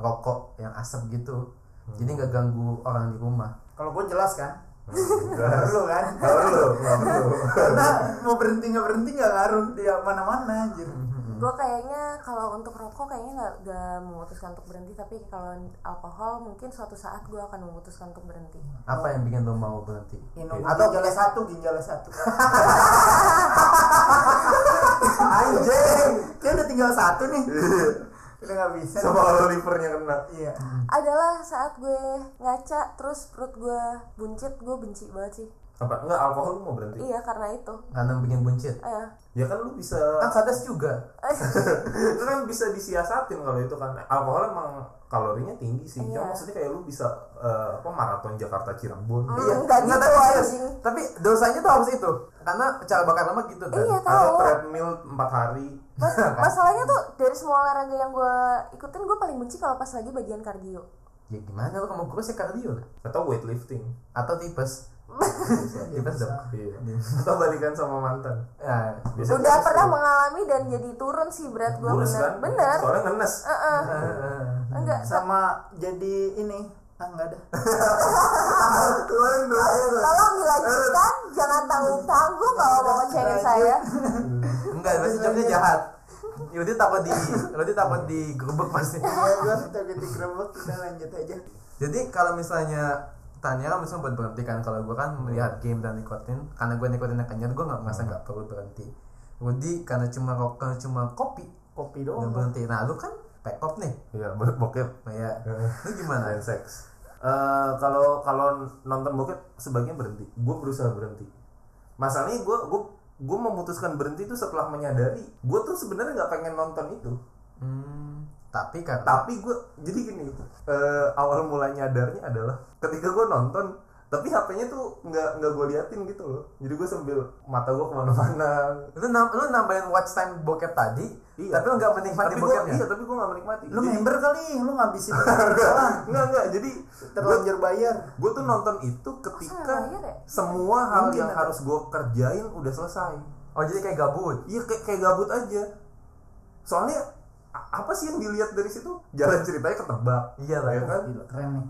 S3: rokok yang asap gitu. Jadi nggak ganggu orang di rumah.
S4: kalau gue jelas kan
S2: Jelas.
S4: perlu kan
S2: kalau lu nggak
S3: [laughs]
S2: perlu.
S4: karena mau berhenti nggak berhenti nggak ngaruh dia mana-mana anjir
S1: Gue kayaknya kalau untuk rokok kayaknya nggak nggak memutuskan untuk berhenti, tapi kalau alkohol mungkin suatu saat gue akan memutuskan untuk berhenti.
S3: Apa yang bikin lo mau berhenti?
S4: Minum
S3: Atau-
S4: ginjalnya satu ginjalnya [laughs] satu
S3: Anjing.
S4: dia udah tinggal satu nih udah nggak bisa
S2: sama kalau livernya kena
S4: iya
S1: Adalah saat gue ngaca terus perut gue buncit, gue benci banget sih.
S2: apa enggak alkohol lu mau berhenti
S1: Iya karena itu.
S3: Karena bikin buncit.
S1: Eh,
S2: ya kan lu bisa
S3: Kan sadas juga.
S2: itu kan bisa disiasatin kalau itu kan alkohol emang kalorinya tinggi sih
S1: Iya.
S2: cuma maksudnya kayak lu bisa eh, apa maraton Jakarta Cirebon
S1: Iya, nggak
S3: Nggak,
S1: gitu,
S3: tapi serius.
S1: anjing.
S3: Tapi dosanya tuh harus itu. Karena cara bakar lemak gitu kan.
S1: Iya
S2: atau
S1: tahu.
S2: treadmill 4 hari
S1: Mas- masalahnya tuh dari semua olahraga yang gue ikutin gue paling benci kalau pas lagi bagian kardio.
S3: Ya gimana lo mau kurus ya kardio lah.
S2: atau
S1: [laughs]
S2: weightlifting
S3: Atau tipes. tipes dong.
S2: iya. atau balikan sama mantan
S3: Ya,
S2: Biasanya
S1: Udah
S2: terus
S1: pernah
S2: tuh.
S1: mengalami dan jadi turun sih berat gue
S2: Kurus
S1: bener.
S2: kan?
S1: Bener.
S2: Soalnya ngenes.
S1: Heeh.
S4: Hmm.
S1: Enggak.
S4: sama jadi ini ah nggak ada
S1: Tolong dilanjutkan, jangan tanggung-tanggung kalau mau ngecengin saya.
S3: Enggak, pasti Jogja jahat. Yudi takut di Yudi takut di gerbek pasti.
S4: ya gue kita ganti gerobak kita lanjut aja
S3: Jadi kalau misalnya tanya kan misalnya buat berhenti kan kalau gue kan melihat game dan nikotin karena gue nikotinnya kenyat gue nggak merasa nggak perlu berhenti. Yudi karena cuma rokok karena cuma kopi
S4: kopi
S3: nggak
S4: doang
S3: berhenti. Nah lu kan pekop nih,
S2: Iya, bo- bokep
S3: kayak
S2: [laughs]
S3: lu
S2: dan
S3: gimana?
S2: seks. Eh, kalau kalau nonton bokep sebaiknya berhenti. Gue berusaha berhenti. Masalahnya gue gue gue memutuskan berhenti itu setelah menyadari gue tuh sebenarnya nggak pengen nonton itu
S3: Hmm, tapi kan
S2: tapi gue jadi gini eh, awal mulai nyadarnya adalah ketika gue nonton tapi HP-nya tuh nggak nggak gue liatin gitu loh jadi gue sambil mata gue kemana-mana
S3: lu, nam- lu nambahin watch time bokep tadi,
S2: Iya.
S3: tapi lu nggak menikmati
S2: tapi gue
S3: bokepnya.
S2: iya tapi gue nggak menikmati
S4: Lu
S2: [laughs] Jadi-
S4: member kali, lu ngabisin salah.
S2: nggak nggak jadi
S4: Terlanjur bayar.
S2: gue tuh nonton itu ketika
S1: Masa bayar ya?
S2: semua hal
S4: Mungkin
S2: yang
S4: ada.
S2: harus gue kerjain udah selesai
S3: Oh jadi kayak gabut.
S2: iya kayak kayak gabut aja soalnya a- apa sih yang dilihat dari situ jalan ceritanya ketebak
S3: Iya lah.
S2: ya kan
S4: Gila, keren nih.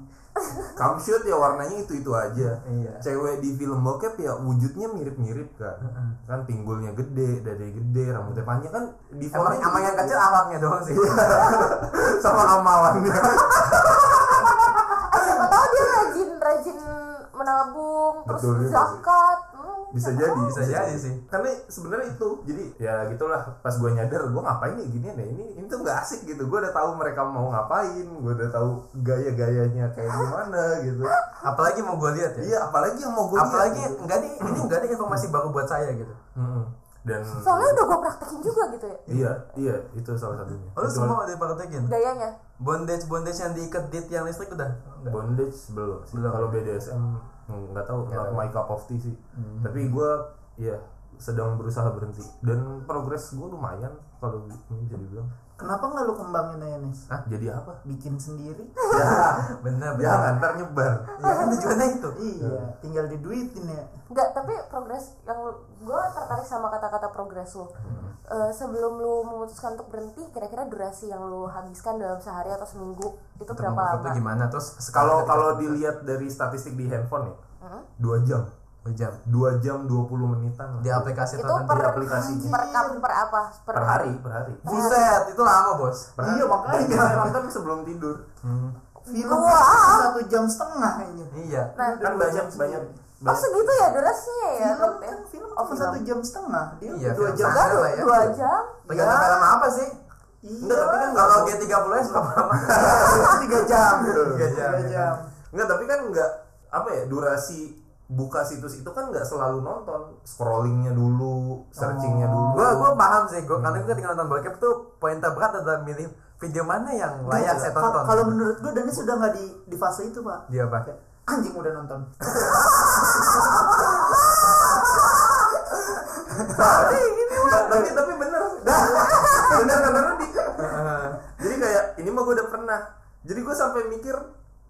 S2: Come shoot ya warnanya itu itu aja
S3: Iya.
S2: cewek di film bokep ya wujudnya mirip-mirip kan kan pinggulnya gede dadanya gede rambutnya panjang kan di
S3: Emang
S2: fontnya
S3: sama yang gitu.
S2: begitu.
S3: kecil alatnya doang
S2: Iya.
S3: sih.
S2: sama
S3: [laughs]
S2: amalannya
S1: Eh, siapa tahu dia rajin rajin menabung terus
S2: Betul, iya.
S1: zakat. Hmm,
S2: bisa
S1: siapa
S2: jadi
S1: tahu.
S3: Bisa jadi sih.
S2: karena sebenarnya itu jadi ya gitulah pas gue nyadar gue ngapain nih gini ya ini ini tuh nggak asik gitu gue udah tahu mereka mau ngapain gue udah tahu gaya-gayanya kayak gimana gitu
S3: Apalagi mau gue lihat ya.
S2: iya apalagi yang mau gitu. gue
S3: Iya. Apalagi enggak ada ini enggak ada informasi baru buat saya gitu.
S2: dan
S1: Soalnya udah gue praktekin juga gitu ya
S2: iya iya itu salah satunya
S3: Oh, lu
S2: Itu
S3: semua ada praktekin.
S1: gayanya.
S3: Bondage bondage yang diikat dit yang listrik udah. Enggak.
S2: bondage belum sih
S3: Belum.
S2: kalau BDSM hmm, nggak tahu not
S3: Nggak tahu. Hmm.
S2: my cup of tea sih tapi gue ya sedang berusaha berhenti dan progres gue lumayan kalau ini bisa dibilang
S4: Kenapa nggak lu kembangin aja, Nes?
S2: jadi
S3: [laughs]
S2: apa
S4: Bikin sendiri?
S2: ya
S3: Bener bener.
S2: jangan ntar nyebar
S3: Ya kan tujuannya itu.
S4: Iya, tinggal diduitin ya.
S1: Enggak, tapi progres yang gue tertarik sama kata-kata progres lo. Eh, sebelum lu memutuskan untuk berhenti, kira-kira durasi yang lu habiskan dalam sehari atau seminggu itu berapa
S3: Bokep tuh
S1: lama?
S3: gimana terus
S2: kalau
S3: sekali-
S2: kalau dilihat dari statistik di handphone ya
S1: Hmm?
S2: dua jam
S3: Dua jam
S2: dua jam 20 menitan lah.
S3: di aplikasi
S1: Itu
S3: tertentu.
S1: per
S2: aplikasinya.
S1: per kam- per apa? Per,
S2: per hari per hari
S3: Buset, itu lama, Bos.
S2: per
S4: Iya, makanya.
S2: Biasanya nonton [laughs] sebelum tidur
S4: Film
S1: Dua.
S4: satu jam setengah aja.
S3: Iya.
S1: Nah,
S2: kan banyak banyak
S1: oh
S2: banyak
S1: segitu ya durasinya ya?
S4: Film
S1: Tut, ya?
S4: kan film
S1: Oh,
S4: cuma satu jam setengah. Dia
S3: Iya,
S4: dua
S3: film
S4: jam.
S3: standar
S1: Enggak,
S3: lah ya.
S1: dua kan? jam.
S3: Tergantung
S4: Ya.
S3: film apa sih?
S2: enggak tapi kan
S3: Kalau
S2: kalau
S3: G30S berapa lama?
S4: Iya. tiga jam.
S3: Tiga jam,
S4: Tiga
S3: ya
S4: jam.
S2: enggak tapi kan enggak apa ya durasi buka situs itu kan nggak selalu nonton scrollingnya dulu searchingnya Iya, dulu
S3: gua gua paham sih gua karena gua ketika nonton bokep tuh poin terberat adalah milih video mana yang layak saya
S4: Ka-
S3: tonton
S4: Iya. Kalau menurut gue Dani sudah nggak di di fase itu pak.
S3: dia apa
S4: Kayak, Anjing udah nonton.
S2: tapi tapi iya, [laughs] bener bener kata Rudi
S3: Ah,
S2: jadi kayak ini mah gue udah pernah jadi gue sampai mikir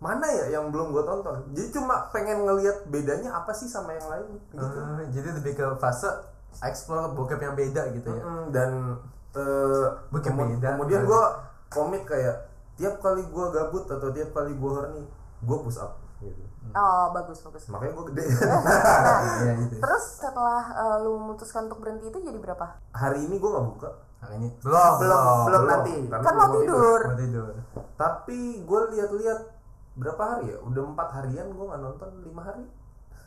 S2: mana ya yang belum gue tonton jadi cuma pengen ngelihat bedanya apa sih sama yang lain gitu
S3: Eh, jadi lebih ke fase explore bokep yang beda gitu ya
S2: Mm, dan eh,
S3: Bukit
S2: kemu-
S3: beda.
S2: kemudian gue komit kayak tiap kali gue gabut atau tiap kali gue horny gue push up gitu
S1: Oh, bagus
S2: [laughs]
S1: bagus. Nah,
S2: makanya gue gede
S3: Iya gitu
S1: Terus setelah eh, lu memutuskan untuk berhenti itu jadi berapa?
S2: hari ini gue nggak buka
S3: hari ini belum
S4: Belum belum nanti.
S2: Oh, karena
S1: Kan
S2: gua
S1: mau tidur.
S3: mau tidur
S2: tapi gue lihat-lihat berapa hari ya udah empat harian gue nggak nonton lima hari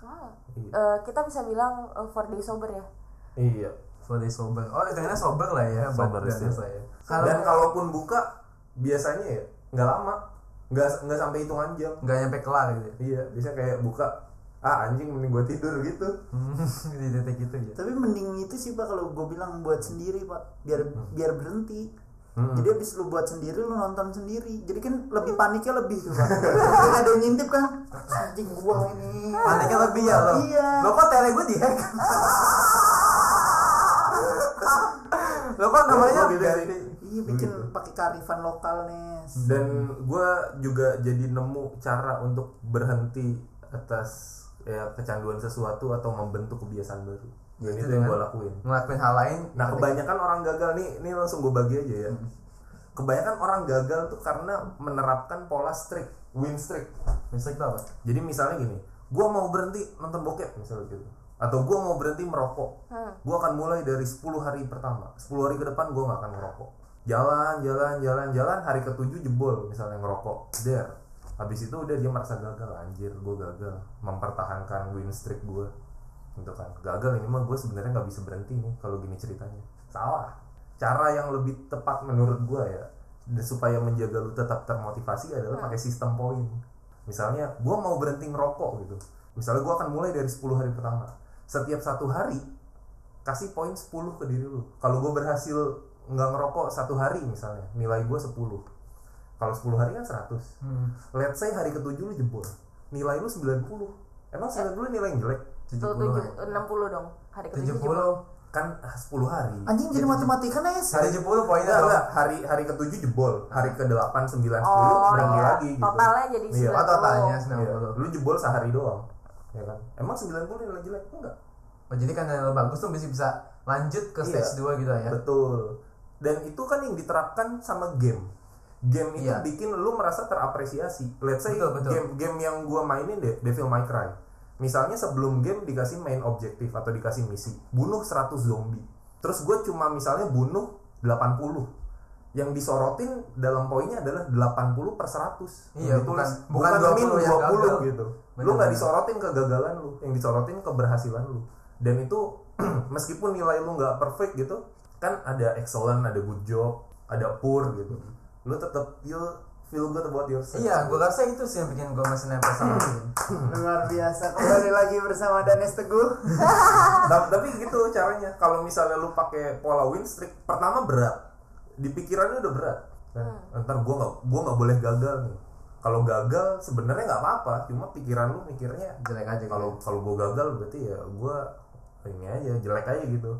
S1: Wow.
S2: Iya.
S1: Eh, kita bisa bilang eh, four day sober ya.
S2: iya
S3: for day sober oh ternyata sober lah ya buat
S2: Sober
S3: dana
S2: sih.
S3: saya
S2: dan
S3: kalau
S2: kalaupun buka biasanya ya nggak lama nggak nggak sampai hitungan jam
S3: nggak nyampe kelar gitu ya. [laughs]
S2: iya biasanya kayak buka ah anjing mending gue tidur gitu
S3: Hmm, di titik itu ya
S4: Tapi mending itu sih pak kalau gue bilang buat sendiri pak biar biar berhenti.
S2: Hmm.
S4: Jadi abis lu buat sendiri lu nonton sendiri. Jadi kan lebih paniknya lebih tuh
S3: [laughs]
S4: pak. Jadi ada yang ngintip kan anjing gua ini.
S3: paniknya lebih ya lo
S4: Iya.
S3: lo kok tele gue di
S2: [laughs]
S3: hack lo kok namanya
S2: Lo gitu sih.
S3: ganti
S4: Iya bikin
S3: Gitu.
S4: pakai karifan lokal
S3: Hmm.
S4: nes.
S2: dan gue juga jadi nemu cara untuk berhenti atas ya kecanduan sesuatu atau membentuk kebiasaan baru
S3: Ya,
S2: dan
S3: itu
S2: itu yang gue
S3: dengan-
S2: lakuin
S3: ngelakuin hal lain
S2: Nah kebanyakan orang gagal nih, ini langsung gue bagi aja ya. Kebanyakan orang gagal tuh karena menerapkan pola streak, win streak.
S3: listrik tuh apa
S2: Jadi misalnya gini, gue mau berhenti nonton bokep misalnya gitu, atau gue mau berhenti merokok.
S1: Hmm.
S2: Gue akan mulai dari 10 hari pertama, 10 hari ke depan gue nggak akan ngerokok. Jalan, jalan, jalan, jalan, hari ketujuh jebol misalnya ngerokok, der. Habis itu udah dia merasa gagal, anjir gue gagal mempertahankan win streak gue gitu kan gagal ini mah gue sebenarnya nggak bisa berhenti nih kalau gini ceritanya salah cara yang lebih tepat menurut gue ya dan supaya menjaga lu tetap termotivasi adalah pakai sistem poin misalnya gue mau berhenti ngerokok gitu misalnya gue akan mulai dari 10 hari pertama setiap satu hari kasih poin 10 ke diri lu kalau gue berhasil nggak ngerokok satu hari misalnya nilai gue 10 kalau 10 hari kan 100 let's say hari ketujuh lu jebol nilai lu 90 emang 90 nilai yang jelek
S1: Tuh, tujuh, enam puluh dong hari ketujuh
S3: 70
S1: jebol.
S2: kan ah, 10 hari
S4: Anjing jadi matematika nih
S3: Hari 70
S2: Enggak,
S3: poinnya dong.
S2: enggak. hari hari ketujuh jebol hari ke delapan sembilan sepuluh
S1: Oh
S2: berapa
S1: iya,
S2: lagi gitu
S1: totalnya jadi
S2: Iya,
S1: sembilan
S3: Oh, totalnya
S2: Iya,
S3: 90.
S2: lu jebol sehari doang ya kan emang 90 nilai jelek enggak
S3: Oh, jadi karena lo bagus tuh bisa bisa lanjut ke
S2: Iya.
S3: stage 2 gitu ya.
S2: betul dan itu kan yang diterapkan sama game game itu
S3: Iya.
S2: bikin lu merasa terapresiasi let's say
S3: Betul, betul.
S2: game game yang gua mainin deh Devil May Cry misalnya sebelum game dikasih main objektif atau dikasih misi bunuh 100 zombie terus gue cuma misalnya bunuh 80 yang disorotin dalam poinnya adalah 80 per Gitu. 100
S3: Iya,
S2: Yang ditulis.
S3: bukan- bukan 20 yang
S2: 20
S3: gagal.
S2: gitu lu
S3: Bener-bener.
S2: nggak disorotin kegagalan lu yang disorotin keberhasilan lu dan itu [clears throat] meskipun nilai lu nggak perfect gitu kan ada excellent ada good job ada poor gitu lu tetap you feel good about yourself
S3: Hmm. Iya, gua rasa itu sih yang bikin gua masih nempel sama dia.
S4: Luar biasa. Kembali lagi bersama Danes Teguh.
S2: Ta- [laughs] tapi gitu caranya kalau misalnya lu pakai pola win streak pertama berat di pikirannya udah berat kan ntar gua nggak gua nggak boleh gagal nih kalau gagal sebenarnya nggak apa-apa cuma pikiran lu mikirnya
S3: Jelek aja gitu. kalau
S2: kalau kalau gue gagal berarti ya gue ini aja jelek aja gitu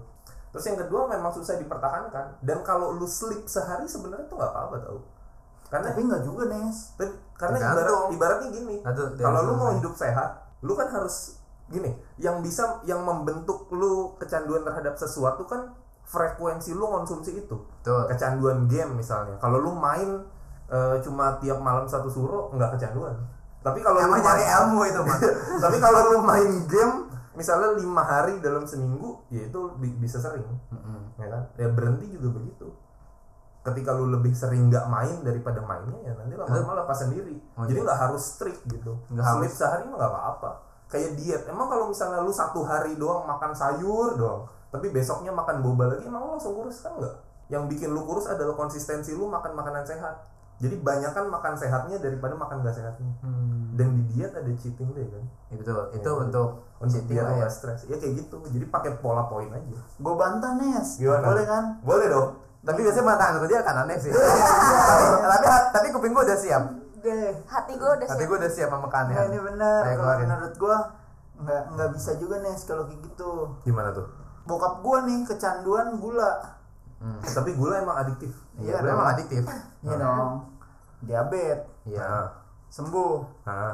S2: terus yang kedua memang susah dipertahankan dan kalau lu sleep sehari sebenarnya tuh nggak apa-apa tau karena
S4: Tapi nggak juga Nes.
S2: tapi- karena
S3: Tergantung. Nah,
S2: ibarat, ibaratnya gini
S3: Aduh, dari
S2: kalau lu
S3: sana.
S2: mau hidup sehat lu kan harus gini yang bisa yang membentuk lu kecanduan terhadap sesuatu kan frekuensi lu konsumsi itu
S3: Betul.
S2: kecanduan game misalnya kalau lu main eh, cuma tiap malam satu suro nggak kecanduan tapi kalau lu
S3: Emang nyari
S2: main-
S3: ilmu itu, Mas.
S2: tapi kalau lu main game misalnya lima hari dalam seminggu ya itu bi- bisa sering ya kan ya berhenti juga begitu ketika lu lebih sering nggak main daripada mainnya ya nanti lama-lama lepas sendiri
S3: Oh,
S2: jadi
S3: iya.
S2: nggak harus strict gitu
S3: Nggak
S2: sleep sehari mah nggak apa-apa kayak diet emang kalau misalnya lu satu hari doang makan sayur doang tapi besoknya makan boba lagi emang lu langsung kurus kan nggak yang bikin lu kurus adalah konsistensi lu makan makanan sehat jadi banyakkan makan sehatnya daripada makan gak sehatnya
S3: [laughs] Hmm.
S2: dan di diet ada cheating deh kan
S3: Ya, betul. Itu
S2: Iya.
S3: untuk
S2: untuk
S3: cheating
S2: biar
S3: lah
S2: lo
S3: ya.
S2: nggak stres ya kayak gitu jadi pakai pola poin aja
S4: Gue bantah Nes.
S2: Gimana?
S4: Boleh kan?
S2: boleh dong
S3: Tapi biasanya mata angkat dia akan [laughs] aneh sih. tapi, tapi tapi kuping gua udah siap.
S4: Deh.
S1: Hati gue udah
S3: Tapi
S1: siap.
S3: gua udah siap sama
S4: Nah,
S3: keanehan.
S4: Eh, ini benar.
S3: Ayo
S4: Kalau
S3: keluarin.
S4: menurut gue nggak nggak bisa juga Nes kalau kayak gitu.
S2: gimana tuh
S4: Bokap gue nih kecanduan gula.
S2: Eh, tapi gula Nah. emang adiktif
S3: Iya,
S4: Hmm. Iya,
S3: gua
S4: dong.
S3: emang adiktif.
S4: Iya dong. Diabetes
S3: Iya.
S2: nah,
S4: sembuh.
S2: nah.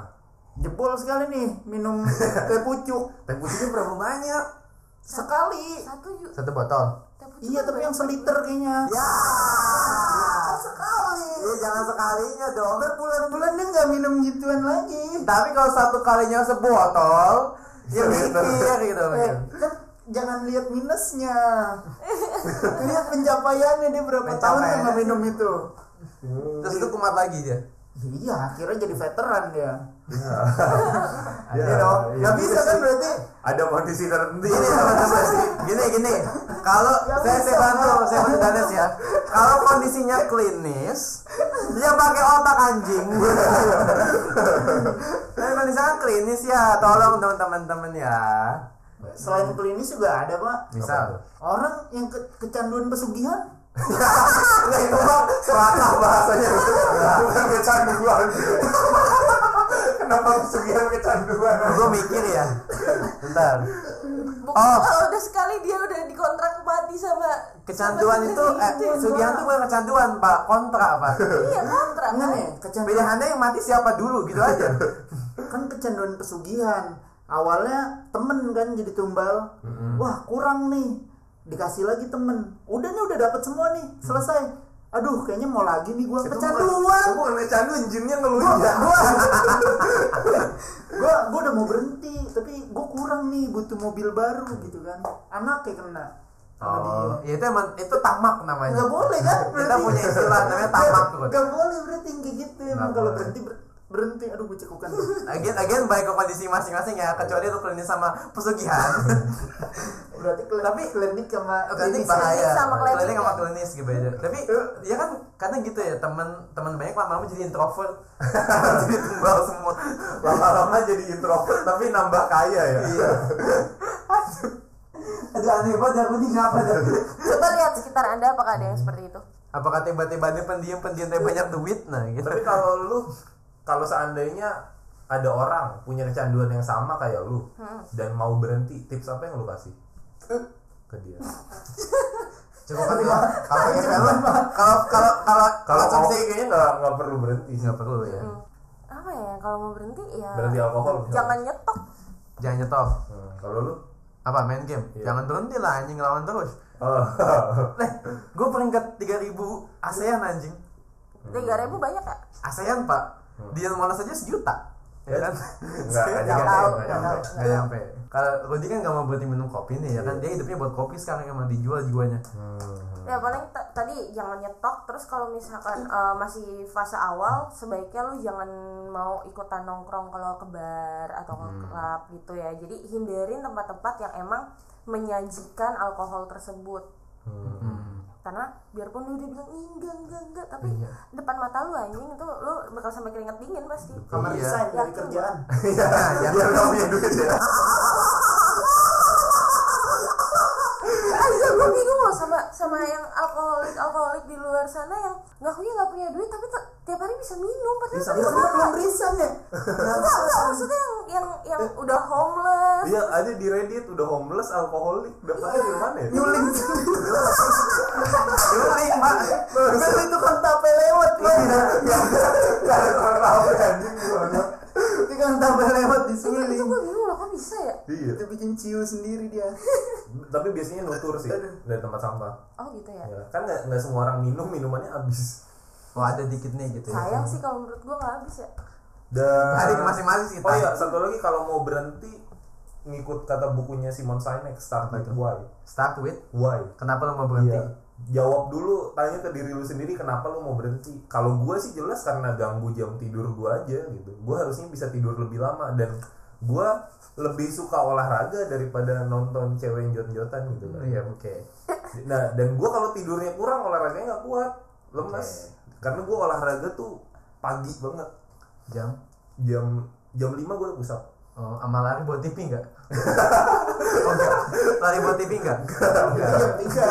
S4: Jebol sekali nih minum teh pucuk
S2: teh putihnya berapa banyak
S4: sekali.
S1: Satu ju-
S3: Satu botol.
S1: teh pucuk
S4: Iya tapi
S1: berapa?
S4: yang seliter kayaknya.
S3: Ya.
S4: Sekali.
S3: Iya, jangan sekalinya dong.
S4: Berbulan-bulan dia nggak minum gituan lagi.
S3: Tapi kalau satu kalinya sebotol, ya mikir [laughs] gitu.
S4: Eh, kan jangan lihat minusnya. [laughs] lihat pencapaiannya dia berapa tahun
S3: Pencapaiannya.
S4: yang nggak minum itu.
S3: Terus itu kumat lagi dia.
S4: Iya, akhirnya jadi veteran dia.
S2: Ya,
S4: Iya dong.
S2: iya.
S4: Nggak bisa kan berarti.
S2: ada kondisi tertentu
S3: Gini teman-teman, gini gini. Kalau saya saya bantu, saya bantu Danes ya. Kalau kondisinya klinis, dia pakai otak anjing. Kalau kondisinya klinis ya, tolong dong teman-teman ya.
S4: Selain klinis juga ada pak.
S3: Misal,
S4: Orang yang ke- kecanduan pesugihan.
S3: Nggak, itu mah serakah bahasanya.
S2: bukan kecanduan kenapa pesugihan kecanduan
S3: Gue mikir ya. Bentar.
S1: Bukan [laughs]
S3: Oh.
S1: kalau udah sekali dia udah dikontrak mati sama
S3: Kecanduan
S1: sama
S3: itu, eh,
S1: itu yang
S3: sugihan itu
S1: gua-
S3: bukan kecanduan, Pak. Kontra, Pak.
S1: Iya kontrak.
S4: Enggak
S3: Hmm.
S4: nih,
S3: Pilihan
S4: kecanduan
S3: anda yang mati siapa dulu, gitu aja.
S4: kan kecanduan pesugihan. Awalnya temen kan jadi tumbal.
S3: Hmm.
S4: Wah kurang nih. Dikasih lagi temen. Udah nih udah dapat semua nih.
S3: Hmm.
S4: Selesai. Aduh kayaknya mau lagi nih gua
S3: [laughs]
S4: kecanduan.
S2: itu bukan kecanduan ya. jinnya ngelunjak
S4: gua gua udah mau berhenti tapi gua kurang nih butuh mobil baru gitu kan anak kayak kena sama
S3: Oh, ya
S4: dia
S3: itu emang itu tamak namanya.
S4: nggak boleh kan
S3: [laughs] Kita punya istilah namanya tamak tuh.
S4: nggak boleh berarti kayak gitu
S3: Nggak
S4: emang kalau
S3: boleh.
S4: berhenti ber- berhenti aduh gue cekukan
S3: [laughs]
S4: tuh.
S3: Again, again baik ke kondisi masing-masing ya, kecuali lu klinis sama pesugihan.
S4: berarti kle-
S3: Tapi-
S4: klinik sama
S3: klinik
S4: klinis
S3: bahaya.
S1: klinis sama klinik
S3: Klinik sama
S1: ya.
S3: klinis gitu aja. Tapi ya kan karena gitu ya, teman teman banyak lama-lama jadi introvert. [laughs] jadi tumbal semua.
S4: Iya.
S2: lama-lama jadi introvert tapi nambah kaya ya
S3: Iya.
S4: aduh
S2: udah aneh banget yang penting apa dah
S1: Coba lihat sekitar Anda apakah ada yang seperti itu.
S3: Apakah tiba-tiba dia pendiam pendiam tapi banyak duit nah gitu.
S2: tapi kalau lu kalau seandainya ada orang punya kecanduan yang sama kayak lu
S1: Hmm.
S2: dan mau berhenti tips apa yang lu kasih Eh. ke dia
S3: Coba kan kalau kalau kalau kalau kalau
S2: kalau kopi kayaknya nggak nggak perlu berhenti sih. Hmm.
S3: nggak perlu ya.
S1: Apa ya kalau mau berhenti ya
S2: berhenti alkohol misalnya.
S1: jangan nyetok.
S3: Jangan nyetop.
S2: Hmm, kalau lu
S3: Apa main game?
S2: Iya.
S3: Jangan berhenti lah anjing lawan terus.
S2: oh.
S3: Nih, gue peringkat 3000 ASEAN anjing.
S1: 3000 banyak ya?
S3: ASEAN pak. Di Monas aja sejuta. Ya kan?
S2: Hmm. Iya. [laughs] nggak nggak
S3: Nggak
S2: nyampe
S1: tahu,
S2: nggak
S1: nggak
S2: nyampe.
S1: tahu.
S3: Nggak nyampe. Kalau Rudy kan gak mau berhenti minum kopi nih ya kan Dia hidupnya buat kopi sekarang emang dijual jiwanya
S2: Hmm.
S1: Ya paling t- tadi jangan nyetok terus kalau misalkan eh, masih fase awal sebaiknya lu jangan mau ikutan nongkrong kalau ke bar atau ke
S2: Hmm.
S1: klub gitu ya. Jadi hindarin tempat-tempat yang emang menyajikan alkohol tersebut. Karena biarpun lu udah bilang "Ih, enggak enggak enggak tapi
S2: Iya.
S1: depan mata lu anjing itu lu bakal sampai keringat dingin pasti.
S4: Kamar
S3: Iya.
S4: desain dari kerjaan.
S3: [laughs] Iya,
S2: biar nggak punya duit ya
S1: Ayo gue bingung loh sama sama yang alkoholik alkoholik di luar sana yang ngakunya nggak punya duit tapi te- tiap hari bisa minum padahal
S2: Bisa
S1: kan
S4: Ya
S2: minum.
S1: nggak
S4: kan belum resign Iya, ya.
S1: nggak nggak, maksudnya yang yang yang
S4: Iya.
S1: udah homeless
S2: dia ada Iya, di Reddit udah homeless alkoholik dapatnya dari mana ya
S4: Nyuling.
S3: Juling pak
S4: Iya, Nyuling tukang tape lewat, Bang.
S2: [laughs] nggak ada orang ramai anjing di sana.
S4: Tukang tape lewat
S1: itu, itu
S4: disuling.
S1: gue bingung loh kok bisa ya
S2: iya
S4: Dia bikin ciu sendiri dia.
S2: tapi biasanya nutur sih dari tempat sampah
S1: oh gitu
S4: Iya.
S1: ya
S2: ya. kan nggak nggak semua orang minum minumannya habis
S3: Oh ada dikit nih gitu ya
S1: sayang sih kalau menurut gue nggak habis ya
S2: dan
S3: Ada ke masing-masing sih
S2: oh iya satu lagi kalau mau berhenti ngikut kata bukunya Simon Sinek start
S3: Apa
S2: with
S3: itu?
S2: why
S3: Start with
S2: why
S3: Kenapa lo mau Gitu. berhenti?
S2: Iya. Jawab dulu, tanya ke diri lu sendiri kenapa lu mau berhenti. Kalau gue sih jelas karena ganggu jam tidur gue aja gitu. Gue harusnya bisa tidur lebih lama dan gue lebih suka olahraga daripada nonton cewek yang jot-jotan gitu. kan.
S3: Hmm, Iya oke
S2: Nah dan gue kalau tidurnya kurang olahraganya nggak kuat, lemes. Karena gue olahraga tuh pagi banget
S3: Jam
S2: jam jam 5 gue udah pusat.
S3: Oh, sama lari buat TV
S2: [laughs]
S3: enggak? oh, enggak. Lari buat TV enggak?
S4: Iya, tiga.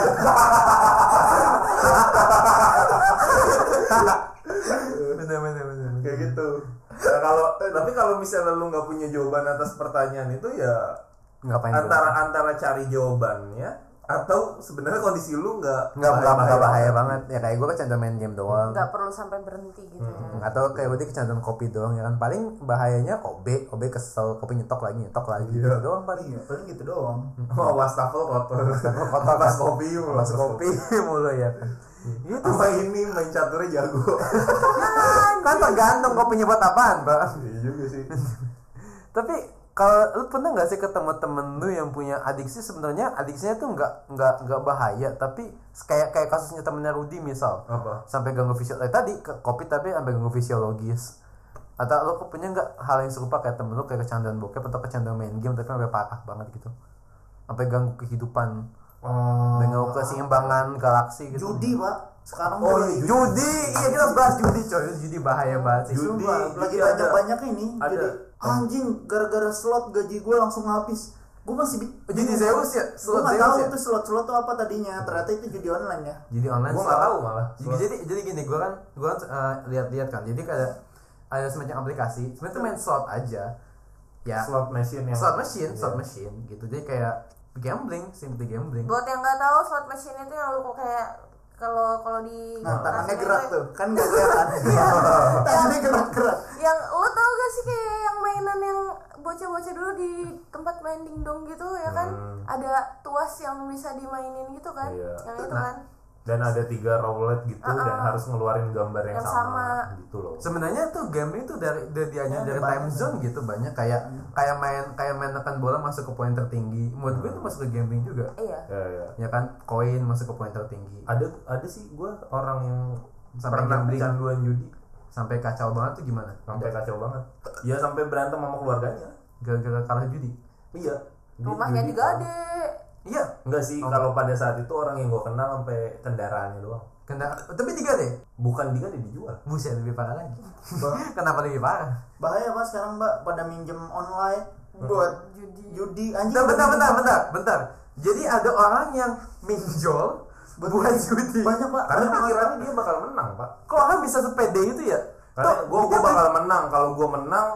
S3: Benar benar benar.
S2: kayak gitu nah, kalau tapi kalau misalnya lu nggak punya jawaban atas pertanyaan itu ya
S3: Ngapain
S2: antara antara cari jawabannya atau sebenarnya kondisi lu nggak
S3: Enggak enggak bahaya, bahaya
S2: bahaya-bahaya
S3: banget. Ya kayak gue kecanduan main game doang.
S1: nggak perlu sampai berhenti gitu
S4: Hmm.
S1: ya
S3: Atau kayak gue kecanduan kopi doang ya kan. Paling bahayanya OB, OB kesel, kopi nyetok lagi, nyetok lagi.
S2: Iya.
S3: Gitu doang paling.
S4: Iya, paling gitu doang.
S2: oh wastafel kotor
S3: kotor.
S2: pas kopi yuk
S3: Mas kopi [laughs] mulu ya kan. Gitu.
S2: sama ini main caturnya jago [laughs]
S3: Kan tergantung kopinya buat apaan, Pak.
S2: iya juga sih
S3: Tapi kalau lu pernah nggak sih ketemu temen lu yang punya adiksi sebenarnya adiksinya tuh nggak nggak nggak bahaya tapi kayak kayak kasusnya temennya Rudy misal
S2: apa
S3: sampai ganggu fisio eh, tadi ke kopi tapi sampai ganggu fisiologis atau lu punya nggak hal yang serupa kayak temen lu kayak kecanduan bokep atau kecanduan main game tapi sampai parah banget gitu sampai ganggu kehidupan
S2: Eh,
S3: sampai ganggu keseimbangan galaksi gitu
S4: Judi, Pak. Sekarang
S2: Oh,
S4: tuh
S2: iya,
S3: judi iya kita harus bahas judi coy judi bahaya banget sih
S2: Judi.
S4: Sumpah, lagi
S2: jadi ada-
S4: banyak-banyak ini.
S2: ada.
S4: Jadi anjing gara-gara slot gaji gue langsung habis. Gue masih bi-
S3: Judi Zeus ya?
S4: Gue
S3: Slot
S4: nggak
S3: Zeus
S4: tahu
S3: ya?
S4: itu slot-slot tuh apa tadinya. Ternyata itu judi online ya.
S3: jadi online
S2: gue nggak
S3: slot.
S2: tahu malah
S3: Jadi, jadi jadi gini, gue kan gue kan eh, lihat-lihat kan. Jadi ada ada semacam aplikasi. Sebenarnya tuh main slot aja. Ya,
S2: slot
S3: slot,
S2: machine yang
S4: Iya.
S3: machine, slot machine gitu. Jadi kayak gambling, simply gambling.
S1: buat yang nggak tahu slot machine itu yang lu kok kayak kalau kalau di
S4: Nah, tangannya
S1: rasanya
S4: gerak
S1: kayak-
S4: tuh. Kan gak kelihatan. tangannya gerak-gerak.
S1: yang Ya, lo tau gak sih kayak yang mainan yang bocah-bocah dulu di tempat main dingdong gitu ya kan
S2: Hmm.
S1: ada tuas yang bisa dimainin gitu kan
S2: Iya.
S1: yang itu
S3: Nah,
S1: kan
S2: dan ada tiga roulette gitu dan
S1: Uh-uh.
S2: harus ngeluarin gambar yang,
S1: Yang
S2: sama.
S1: sama.
S2: gitu loh
S3: Sebenarnya tuh gambling tuh dari dari dia
S4: Ya,
S3: dari
S4: banyak. Iya.
S3: time zone gitu banyak kayak kayak main kayak main tekan bola masuk ke poin tertinggi. Menurut gue itu masuk ke gambling juga.
S1: iya
S2: ya, ya.
S3: Ya kan, koin masuk ke poin tertinggi.
S2: ada ada sih gue orang yang
S3: Sampai
S2: pernah
S3: gambling.
S2: kecanduan judi
S3: Sampai kacau banget tuh gimana?
S2: sampai kacau banget ya sampai berantem sama keluarganya
S3: Gara-gara kalah judi.
S2: iya Dia
S1: rumahnya
S2: judi.
S1: juga ada
S3: Iya,
S2: enggak sih
S3: Oh.
S2: kalau pada saat itu orang yang gue kenal sampai kendaraannya doang
S3: kena tapi tiga deh.
S2: bukan dia dia dijual
S3: Buset lebih parah lagi. [laughs] Kenapa lebih parah?
S4: Bahaya pak sekarang mbak pada minjem online buat
S1: judi
S4: judi anjing.
S3: Bentar, bentar, bentar, bentar, bentar. Jadi ada orang yang minjol buat judi.
S4: banyak pak
S2: Karena pikirannya dia bakal menang, Pak.
S3: Kok orang bisa sepede itu ya?
S2: Karena
S3: Tuh,
S2: gue
S3: dia
S2: gua bakal menang. Kalau gue menang,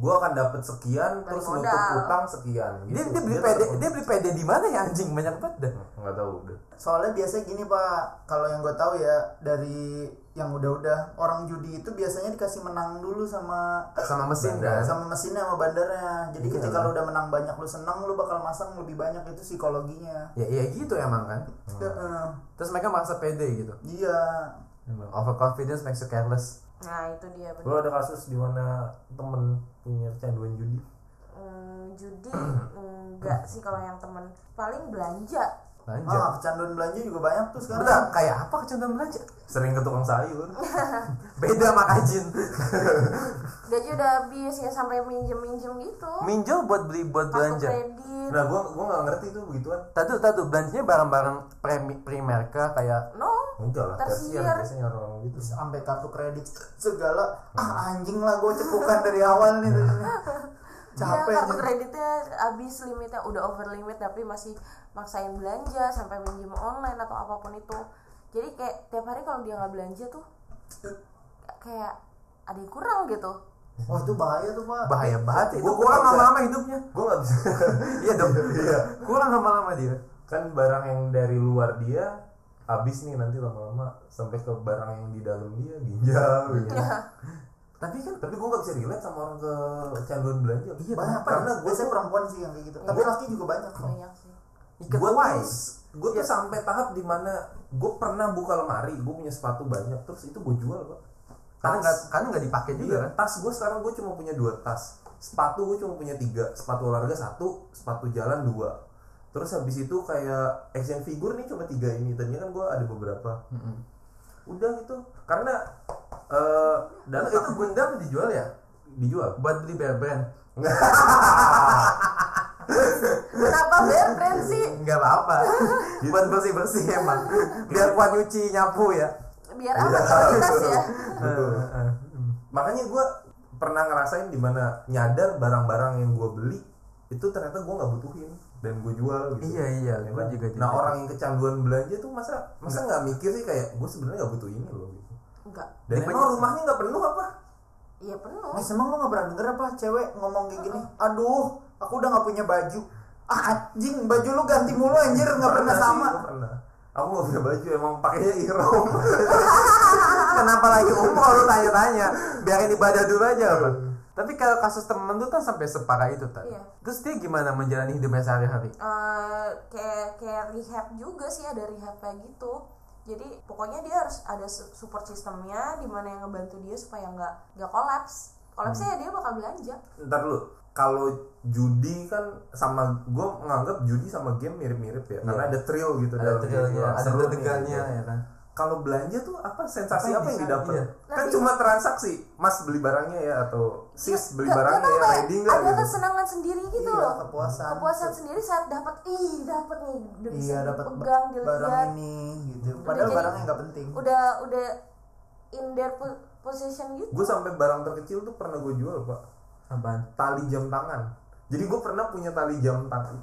S2: gue akan dapat sekian terus nutup
S1: modal.
S2: utang sekian. Gitu.
S3: beli- Dia, dia beli pede, dia beli pede di mana ya anjing banyak banget dah.
S2: Enggak tahu udah.
S4: soalnya biasanya gini pak kalau yang gue tahu ya dari yang udah-udah orang judi itu biasanya dikasih menang dulu sama
S3: Sama mesin
S2: Bandar.
S3: kan.
S4: sama mesinnya sama bandarnya jadi ketika lu udah menang banyak lu senang lu bakal masang lebih banyak itu psikologinya
S3: Ya iya gitu emang kan.
S4: Heeh.
S3: Terus mereka merasa pede gitu.
S4: iya
S3: Emang overconfidence makes you careless.
S1: nah itu dia bener.
S2: Gue ada kasus di mana temen punya kecanduan judi.
S1: Hmm,
S2: [clears throat]
S1: judi enggak sih kalau yang temen paling belanja
S3: Belanja.
S4: ah kecanduan belanja juga banyak tuh sekarang
S3: Bentar, kayak apa kecanduan belanja?
S2: Sering ke tukang
S3: [laughs]
S2: sayur.
S3: Beda sama kajin.
S1: gaji udah habis ya sampai minjem minjem gitu
S3: Minjol buat beli buat
S1: kartu
S3: belanja.
S1: kredit
S2: Nah, gue gua nggak ngerti tuh begituan.
S3: Tadu, tadu, belanjanya barang-barang premi- primerka kayak
S1: no
S2: Enggak lah,
S1: Tersier.
S2: tersier biasanya orang gitu.
S4: sampai kartu kredit segala ah anjing lah gue cekukan dari awal nih
S1: ya,
S4: capek
S1: kartu
S4: anjing.
S1: kreditnya habis limitnya udah over limit tapi masih maksain belanja sampai minjem online atau apapun itu jadi kayak tiap hari kalau dia nggak belanja tuh kayak ada yang kurang gitu
S4: wah Oh, itu bahaya tuh pak
S3: bahaya banget itu
S2: Gua- gua
S3: kurang
S2: nggak bisa.
S3: lama-lama hidupnya
S2: Gue nggak
S3: [laughs]
S2: bisa.
S3: iya dong kurang lama-lama dia
S2: kan barang yang dari luar dia habis nih nanti lama-lama sampai ke barang yang di dalam dia ginjal
S3: Iya.
S2: gitu.
S3: tapi kan
S2: tapi gue nggak bisa relate sama orang ke kecanduan belanja
S3: Iya,
S4: banyak pak
S2: karena Iya. gue
S4: biasanya perempuan sih yang kayak gitu tapi laki juga banyak kok
S1: banyak Iya sih
S3: ikat Iya.
S2: gue tuh
S3: wise
S2: gue tuh sampai tahap dimana gue pernah buka lemari gue punya sepatu banyak terus itu gue jual pak
S3: karena nggak
S2: tas
S3: karena nggak dipakai juga
S2: iya,
S3: kan
S2: tas gue sekarang gue cuma punya dua tas sepatu gue cuma punya tiga sepatu olahraga satu sepatu jalan dua terus habis itu kayak action figure nih cuma tiga ini tadinya kan gue ada beberapa
S3: Mm-mm.
S2: udah gitu karena eh dan
S3: dan itu Gundam dijual ya
S2: dijual
S3: buat beli bear brand
S1: kenapa brand brand sih
S3: nggak [laughs] apa-apa buat bersih bersih emang biar kuat nyuci nyapu ya
S1: biar aman kualitas ya
S3: Ah,
S2: Betul.
S3: Hmm.
S2: makanya gue pernah ngerasain dimana nyadar barang-barang yang gue beli itu ternyata gue nggak butuhin dan gue jual gitu
S3: iya iya
S2: Ya
S3: gue
S2: kan?
S3: juga Iya.
S2: nah
S3: tidak.
S2: orang yang kecanduan belanja tuh masa masa nggak mikir sih kayak gue sebenarnya nggak butuh ini loh gitu
S1: enggak
S2: dan
S3: Dia
S2: emang
S3: punya-
S2: rumahnya nggak penuh apa
S1: iya penuh
S4: Mas emang lo gak pernah denger apa cewek ngomong kayak gini Aduh aku udah gak punya baju Ah anjing baju lu ganti mulu anjir gak pernah
S2: sih,
S4: sama
S2: gua pernah aku nggak punya baju emang pakainya irom
S3: kenapa lagi umroh lu tanya-tanya biarin ibadah dulu aja apa tapi kalau kasus temen tuh kan sampai separah itu tadi
S1: Iya.
S3: terus dia gimana menjalani hidupnya sehari-hari
S1: eh kayak kayak rehab juga sih ada rehab kayak gitu jadi pokoknya dia harus ada su- support sistemnya di mana yang ngebantu dia supaya nggak nggak kolaps kolapsnya ya dia bakal belanja
S2: [laughs] ntar lu kalau judi kan sama gue nganggap judi sama game mirip-mirip ya karena
S3: Iya.
S2: ada thrill gitu
S3: ada
S2: dalam
S3: tegalnya
S2: Wah,
S3: ada
S2: seru nih,
S3: tegalnya
S2: gitu.
S3: ya kan
S2: kalau belanja tuh apa sensasi apa,
S3: Apa
S2: yang
S3: yang
S2: didapat
S3: bisa, Iya.
S2: kan
S1: Nanti-
S2: cuma transaksi mas beli barangnya ya atau
S1: Iya.
S2: sis beli barangnya ya
S1: kayak
S2: ready nggak
S1: ada
S2: gitu
S1: kesenangan sendiri gitu
S4: Iya
S1: loh
S4: kepuasan
S1: kepuasan sendiri saat dapat ih dapat nih udah bisa
S4: Iya dapat
S1: pegang
S4: ba- barang
S1: dilihat
S4: ini gitu Padahal
S1: jadi-
S4: barangnya gak penting
S1: udah udah in their po- possession gitu
S2: gue sampai barang terkecil tuh pernah gue jual pak
S3: apaan
S2: tali jam tangan jadi gue pernah punya tali jam tangan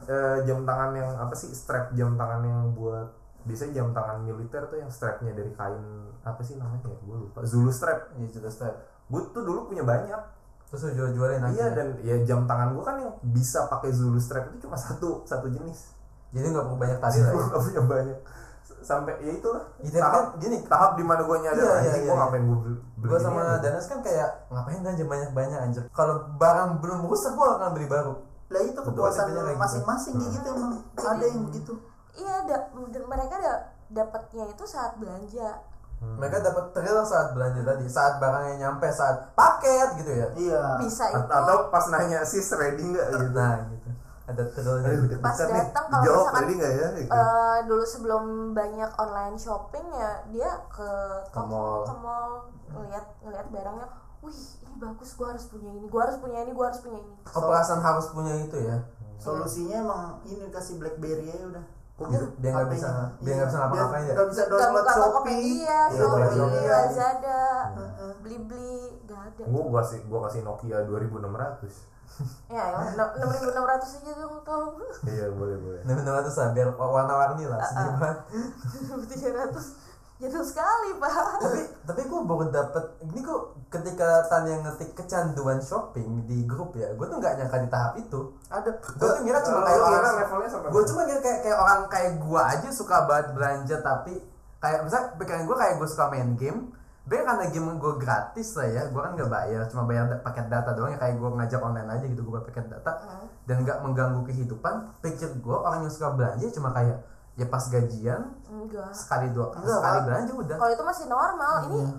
S2: jam tangan yang apa sih strap jam tangan yang buat biasanya jam tangan militer tuh yang strapnya dari kain apa sih namanya ya gue lupa Zulu strap
S3: Iya juga step.
S2: gue tuh dulu punya banyak
S3: Terus lu jual-jualin
S2: iya
S3: akhirnya.
S2: dan ya jam tangan gue kan yang bisa pakai Zulu strap itu cuma satu satu
S3: [laughs]
S2: jenis
S3: Jadi nggak perlu banyak ya? tali
S2: gue
S3: [laughs] lagi.
S2: gak punya banyak S- sampai ya itulah
S3: Iya, tapi kan
S2: tahap
S3: gini,
S2: tahap dimana gue nyadar
S3: Iya, iya,
S2: anjing
S3: iya,
S2: gue
S3: iya.
S2: ngapain gue beli, beli
S3: Gue
S2: ini
S3: sama
S2: ya?"
S3: Danas kan kayak ngapain belanja banyak-banyak anjir. Kalau barang belum rusak gue akan beli baru.
S4: Lah itu
S3: Kepuasan
S4: kepuasan
S3: kayak gitu.
S4: masing-masing kayak gitu emang Ada yang gitu. begitu
S1: iya da- mereka ada dapatnya itu saat belanja
S3: Mereka dapat thrill saat belanja tadi, saat barangnya nyampe, saat paket gitu ya.
S4: Iya
S1: bisa
S2: A-
S1: itu
S2: atau pas nanya sis ready nggak gitu
S3: Nah gitu. Ada thrillnya.
S2: Aduh,
S1: Pas
S2: deg-degan nih.
S1: datang kalau
S2: Dijawab
S1: misalkan-
S2: ready nggak ya gitu.
S1: Eh, dulu sebelum banyak online shopping ya dia ke
S3: Ke
S1: toko,
S3: mall.
S1: ke mall ngeliat ngeliat barangnya wih ini bagus gua harus punya ini gua harus punya ini gua harus punya ini
S3: Oh, perasaan harus punya itu ya.
S4: Solusinya emang ini kasih Blackberry aja udah
S3: Kok gitu? Biar nggak bisa, biar nggak bisa ngapa-ngapain ya.
S4: Gak bisa
S1: Gak
S4: download
S1: buka
S4: Shopee
S1: Tokopedia,
S4: Iya,
S2: download
S1: Shopee, iya.
S2: Shopee. Iya.
S1: Lazada,
S4: Heeh.
S1: Blibli, gak ada.
S2: Gue gua kasih gua kasih Nokia 2600.
S1: ya enam ribu enam ratus aja dong tolong
S2: [laughs] iya boleh boleh
S3: Nah, benar tuh lah, biar warna-warni lah, sedih banget.
S1: [laughs] tiga ratus jatuh sekali pak
S3: tapi tapi gue baru dapet ini gue ketika Tan yang ngetik kecanduan shopping di grup ya gue tuh nggak nyangka di tahap itu
S4: Ada.
S3: gue tuh ngira cuma
S2: Eh, Lu
S3: kayak
S2: kira
S3: orang
S2: levelnya sampai
S3: gue cuma ngira kayak kayak orang kayak gue aja suka banget belanja tapi kayak misalnya pikiran gue kayak gue suka main game Tapi karena game gue gratis lah ya, gue kan nggak bayar, cuma bayar da- paket data doang ya kayak gue ngajak online aja gitu gue bayar paket data dan nggak mengganggu kehidupan. Pikir gue orang yang suka belanja cuma kayak ya pas gajian
S1: enggak
S3: sekali dua
S4: Enggak,
S3: sekali
S4: Pak.
S3: belanja udah.
S1: kalau itu masih normal ini
S2: Iya.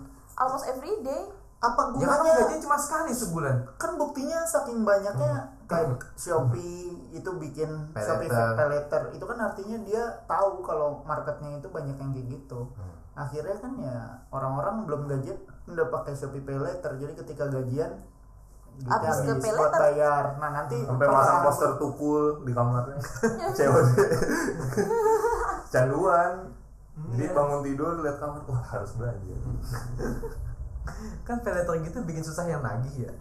S1: almost every day
S4: Apa
S3: Ya kan
S4: gunanya?
S3: gajian cuma sekali sebulan.
S4: kan buktinya saking banyaknya kayak Shopee itu bikin
S3: Hmm. Pay
S4: Shopee
S3: letter.
S4: pay letter itu kan artinya dia tahu kalau marketnya itu banyak yang kayak gitu
S3: Hmm.
S4: akhirnya kan ya orang-orang belum gajian udah pakai Shopee pay letter jadi ketika gajian duitnya
S1: Habis ke pay
S4: buat
S1: letter.
S4: bayar nah nanti
S2: sampai pasang poster tukul di kamarnya [laughs] cewek
S3: [laughs]
S2: canduan
S3: Hmm,
S2: jadi
S3: iya.
S2: bangun tidur lihat kamar wah harus belanja
S3: Kan pay letter gitu bikin susah yang nagih ya.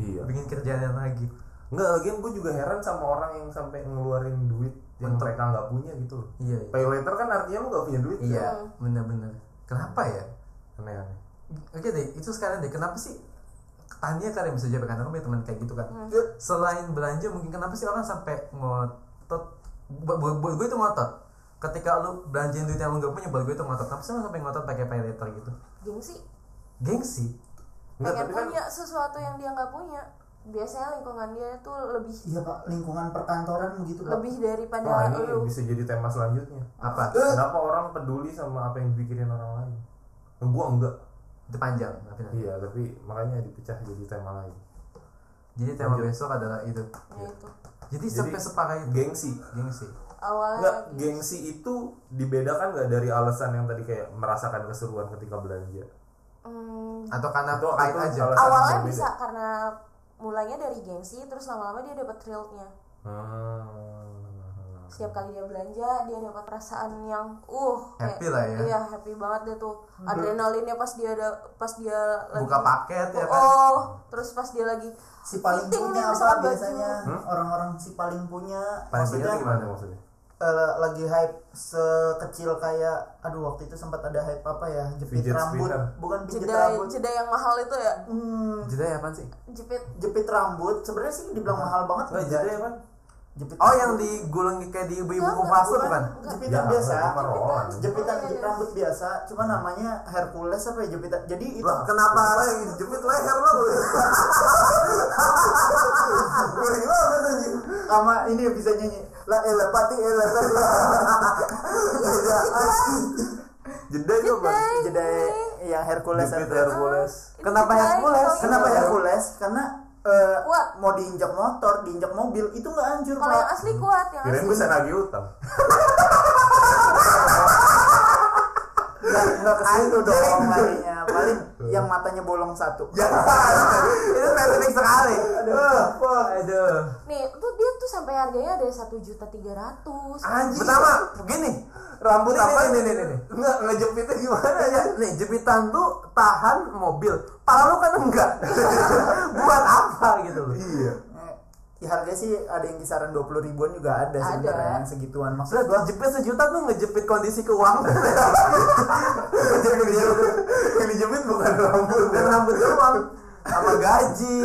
S2: iya
S3: Bikin kerjaan yang nagih.
S2: nggak lagian gue juga heran sama orang yang sampai ngeluarin duit yang
S3: Untuk-
S2: mereka nggak punya gitu loh
S3: Iya. iya.
S2: pay later kan artinya lu nggak punya duit kan?
S3: Iya, bener-bener. Kenapa ya?
S2: aneh aneh
S3: Oke deh, itu sekarang deh. Kenapa sih Tania kalian bisa jawab karena aku punya teman kayak gitu kan.
S1: Hmm.
S3: Selain belanja, mungkin kenapa sih orang sampai ngotot? Buat, buat- buat gue itu ngotot. Ketika lu belanjain duit yang lu gak punya, buat gue itu ngotot. Kenapa sih orang sampai ngotot pakai pay letter gitu?
S1: gengsi
S3: Gengsi.
S2: nggak
S1: pengen
S2: tapi kan
S1: punya sesuatu yang dia nggak punya biasanya lingkungan dia tuh lebih
S4: iya pak lingkungan perkantoran gitu pak
S1: lebih daripada
S2: wah ini
S1: lu
S2: bisa jadi tema selanjutnya
S3: Apa?
S2: kenapa orang peduli sama apa yang dipikirin orang lain Nah, gua enggak
S3: Itu panjang. tapi nanti.
S2: iya tapi makanya dipecah jadi tema lain
S3: Jadi tema
S2: Lanjut.
S3: besok adalah itu.
S1: ya itu
S3: Jadi, sampai separah itu.
S2: gengsi
S3: Gengsi.
S2: Enggak,
S1: awalnya gitu.
S2: gengsi itu dibedakan nggak dari alasan yang tadi kayak merasakan keseruan ketika belanja?
S1: Hmm,
S3: Atau karena
S2: Itu-
S3: pahit
S2: itu salah-
S3: aja.
S1: awalnya
S2: berbeda.
S1: bisa karena mulainya dari gengsi terus lama-lama dia dapat thrillnya
S2: Hmm.
S1: setiap kali dia belanja dia dapat perasaan yang uh kayak-
S3: Happy lah ya.
S1: iya happy banget deh tuh adrenalinnya pas dia ada pas dia lagi
S3: Buka paket ya
S1: oh,
S3: kan.
S1: terus pas dia lagi
S4: si paling
S1: Penting
S4: punya
S1: nih
S4: apa
S1: misalkan baju.
S4: biasanya orang-orang si paling punya
S2: Paling
S4: maksudnya
S2: beda gimana maksudnya?
S4: eh, lagi hype sekecil kayak aduh waktu itu sempat ada hype apa ya jepit
S2: Fidget
S4: rambut
S2: spinner.
S4: bukan pijit
S1: jeda
S4: rambut
S1: jeda yang mahal itu ya
S4: Hmm,
S3: Jadi apa sih?
S1: jepit
S4: jepit rambut sebenarnya sih dibilang mahal banget
S2: Nggak
S4: enggak.
S2: jadi ya kan?
S4: jepit
S3: Oh yang digulung kayak di ibu-ibu
S1: Enggak,
S3: kumplase
S1: enggak.
S3: bukan?
S2: Ya,
S4: jepitan biasa
S2: itu mah rolan.
S4: jepitan
S1: Oh, iya,
S4: jepit
S1: iya.
S4: rambut biasa cuma namanya Hercules apa ya jepitan jadi itu
S2: Lah, kenapa lagi jepit leher lo? Gurih banget anjing.
S4: sama ini yang bisa nyanyi lah eh, elepati
S1: [laughs]
S4: elepati
S2: Jeda
S3: [laughs]
S2: itu apa?
S4: ah. jeda yang Hercules
S2: Jepit
S4: apa?
S2: Hercules.
S3: Kenapa Hercules?
S4: kenapa Hercules karena eh,
S1: Kuat.
S4: mau diinjak motor diinjak mobil itu nggak hancur
S1: kalau yang
S4: pak
S1: asli kuat yang
S2: Kirain
S1: asli
S2: gue senagi utang.
S4: nggak nggak kesitu dong larinya
S3: [laughs] Eh.
S4: paling yang matanya bolong satu
S3: Ya. Itu spesifik sekali. Aduh. Aduh.
S1: nih tuh dia tuh sampai harganya ada satu juta tiga ratus
S2: Anjing.
S3: Pertama gini.
S2: Rambut
S3: Nih,
S2: apa ini
S3: nih, nih,
S2: nih
S3: nih, nih.
S2: Enggak ngejepitnya gimana ya?
S3: Iya, Nih jepitan tuh tahan mobil. Pala lu kan enggak. [laughs] Buat apa gitu loh.
S2: Iya.
S4: Eh, ya harganya sih ada yang kisaran 20 ribuan juga ada sebenarnya yang segituan maksud
S3: Terus
S4: gua
S3: jepit sejuta tuh ngejepit kondisi keuangan. Ngejepit dia-
S2: Yang dijepit bukan rambut.
S3: Bukan rambut doang sama gaji.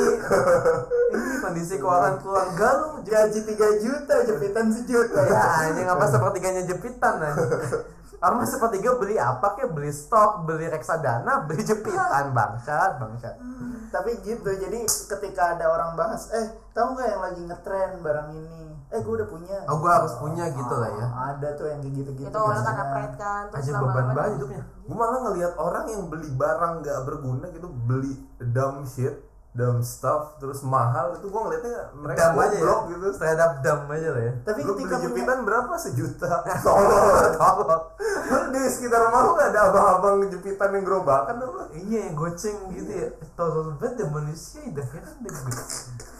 S3: Ini kondisi keuangan keluarga lu jepit
S4: gaji 3 juta jepitan sejuta
S3: Ya
S4: ya
S3: anjing apa sepertiganya jepitan anjing. Orang mah sepertiga beli apa kek? Beli stok, beli reksadana, beli jepitan bangsat, bangsat.
S4: [laughs] tapi gitu jadi ketika ada orang bahas eh tahu nggak yang lagi ngetren barang ini eh gue udah punya
S3: Oh gua harus punya gitu lah ya.
S4: Ah, ada tuh yang kayak gitu gitu
S1: itu awalnya karena pride kan terus
S3: Aja
S1: lama-lama
S3: beban banget
S1: dia-
S3: hidupnya.
S2: gue malah ngelihat orang yang beli barang nggak berguna gitu beli dumb shit dumb stuff terus mahal itu gue ngeliatnya mereka
S3: Dam aja ya.
S2: goblok gitu
S3: Terhadap dam aja lah ya.
S4: tapi
S2: lu beli
S4: ketika punya
S2: jepitan berapa [laughs] sejuta tolong
S3: Tolong.
S2: Lu di sekitar rumah lu nggak ada abang-abang jepitan yang gerobakan apa
S3: Iya yang goceng gitu ya. Tolong banget ya manusia udah heran deh gue.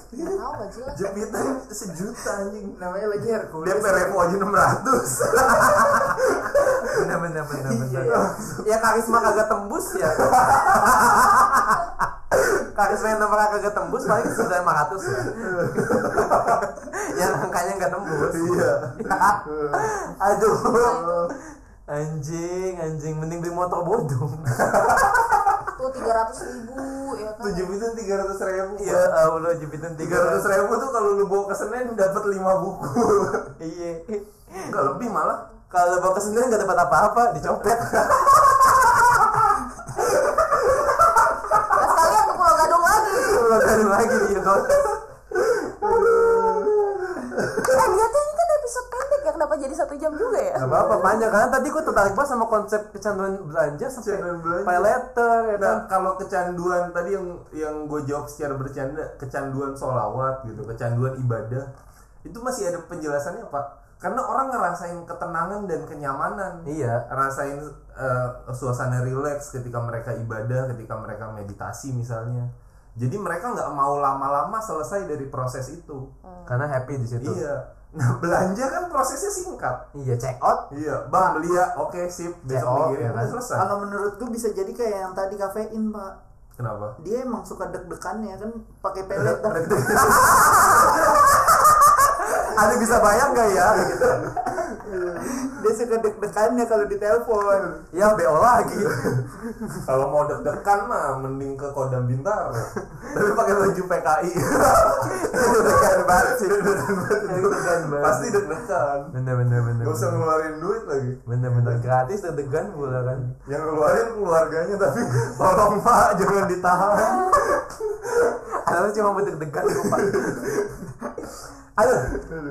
S1: nggak tahu nggak jelas
S2: jepitan sejuta anjing
S4: namanya lagi Hercules
S2: DP repo aja 600
S3: Bener bener [laughs] bener bener.
S4: Iya.
S3: Ya [laughs] karisma kagak tembus ya. Harus yang nomor kagak tembus paling sudah 500 ya. [laughs] yang angkanya nggak tembus.
S2: [laughs] [laughs] Iya.
S3: [laughs] Aduh. Anjing, anjing, mending beli motor bodong. [laughs]
S1: tuh tiga ratus ribu ya kan
S2: Tujuh itu tiga ratus ribu.
S3: Ya Allah, jepitan
S2: Iya. Tiga ratus
S3: 300.
S2: ribu tuh kalau lu bawa ke Senen dapat lima buku. [laughs]
S3: Iya.
S2: Enggak lebih malah.
S3: Kalau bawa ke sendiri nggak dapat apa-apa, dicopet. [laughs]
S1: Nah, sekalian ke Pulau Gadung lagi
S3: Ulang lagi ya dong.
S1: eh lihat ini kan episode pendek yang dapat jadi satu jam juga ya
S3: Gak apa-apa panjang karena tadi gue tertarik banget sama konsep kecanduan belanja sampai
S2: Kecanduan belanja.
S3: pay letter ya kan.
S2: Nah, kalau kecanduan tadi yang yang gue jawab secara bercanda, kecanduan solawat gitu, kecanduan ibadah, itu masih ada penjelasannya pak. Karena orang ngerasain ketenangan dan kenyamanan.
S3: Iya.
S2: Rasain eh, suasana rileks ketika mereka ibadah, ketika mereka meditasi misalnya. Jadi mereka nggak mau lama-lama selesai dari proses itu.
S3: Karena happy di situ.
S2: Nah. Iya. Nah belanja kan prosesnya singkat.
S3: Iya, check out.
S2: Iya, bang beli ya, oke sip,
S3: CO,
S2: besok
S3: ya
S2: mikirin,
S3: kan?
S2: udah selesai.
S4: Kalau menurut gue bisa jadi kayak yang tadi kafein pak
S2: Kenapa?
S4: dia emang suka deg-degannya kan pakai pelet dah.
S3: Ada bisa bayang gak ya?
S4: [laughs] dia suka deg-degannya kalau ditelepon
S3: ya BO lagi.
S2: Kalau mau deg-degan mah mending ke Kodam Bintaro. [laughs] Tapi pakai baju PKI.
S3: Deg-degan banget sih. Deg-degan banget.
S2: [laughs] Pasti deg-degan.
S3: Bener bener bener.
S2: Gak usah ngeluarin duit lagi.
S3: Bener bener gratis deg-degan pula kan.
S2: Yang ngeluarin keluarganya tapi [laughs] tolong Pak jangan ditahan.
S3: Karena cuma buat deg-degan lupa. Aduh,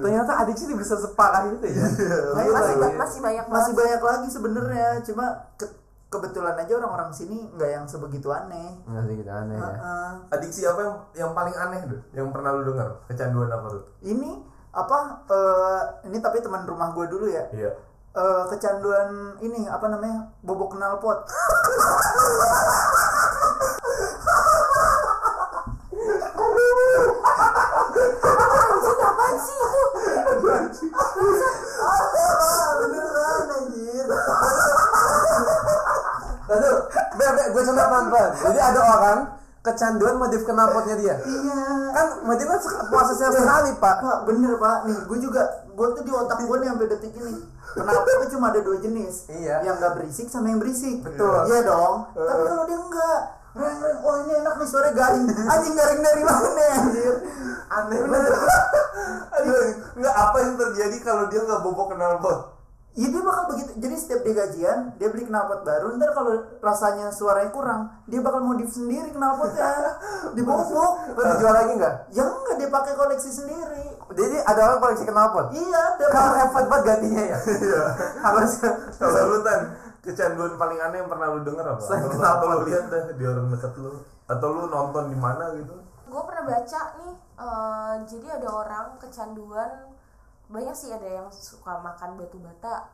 S3: ternyata adiksi bisa separah itu
S2: Iya.
S3: ya.
S4: Masih
S1: masih,
S4: banyak-
S1: masih banyak
S4: masih
S1: banget.
S4: banyak lagi sebenarnya cuma ke- kebetulan aja orang-orang sini nggak yang sebegitu aneh
S3: Masih gitu aneh
S2: Ah,
S3: ya.
S4: Heeh.
S2: Adiksi apa yang yang paling aneh tuh? Yang pernah lu dengar? Kecanduan apa tuh?
S4: ini apa eh, ini tapi teman rumah gue dulu ya
S2: Iya.
S4: Eh, kecanduan ini apa namanya bobok knalpot
S1: anjing apaan sih itu
S4: beneran anjir
S3: Lalu, beb, beb, gue contoh pelan-pelan. Jadi ada orang kecanduan motif knalpotnya dia.
S4: iya [laughs]
S2: ah.
S3: Kan motifnya sek- prosesnya sekali, Pak.
S4: pak bener pak nih gue juga gue tuh di otak gue nih sampai detik ini kenapa tuh cuma ada dua jenis
S3: Iya.
S4: yang nggak berisik sama yang berisik
S3: Betul.
S4: iya dong tapi kalau dia enggak reng reng oh ini enak nih suara garing anjing garing dari mana ya, anjir
S2: Aneh bener. Aduh, nggak apa yang terjadi kalau dia nggak bobok knalpot?
S4: Iya dia bakal begitu. Jadi setiap dia gajian, dia beli knalpot baru. Ntar kalau rasanya suaranya kurang, dia bakal modif sendiri
S3: [laughs]
S4: knalpotnya. Dibobok.
S3: Lo dijual lagi nggak?
S4: Ya enggak dia pakai koleksi sendiri.
S3: Jadi ada orang koleksi knalpot.
S4: Iya, ada.
S3: Kalau effort banget gantinya [laughs] ya.
S2: Iya.
S3: Harus
S2: Kalau lu Tan, kecanduan paling aneh yang pernah lu denger apa?
S3: Selain
S2: Atau-
S3: kenapa?
S2: Atau lu lihat deh di orang dekat lu atau lu nonton di mana gitu?
S1: gue pernah baca nih eh, jadi ada orang kecanduan banyak sih ada yang suka makan batu bata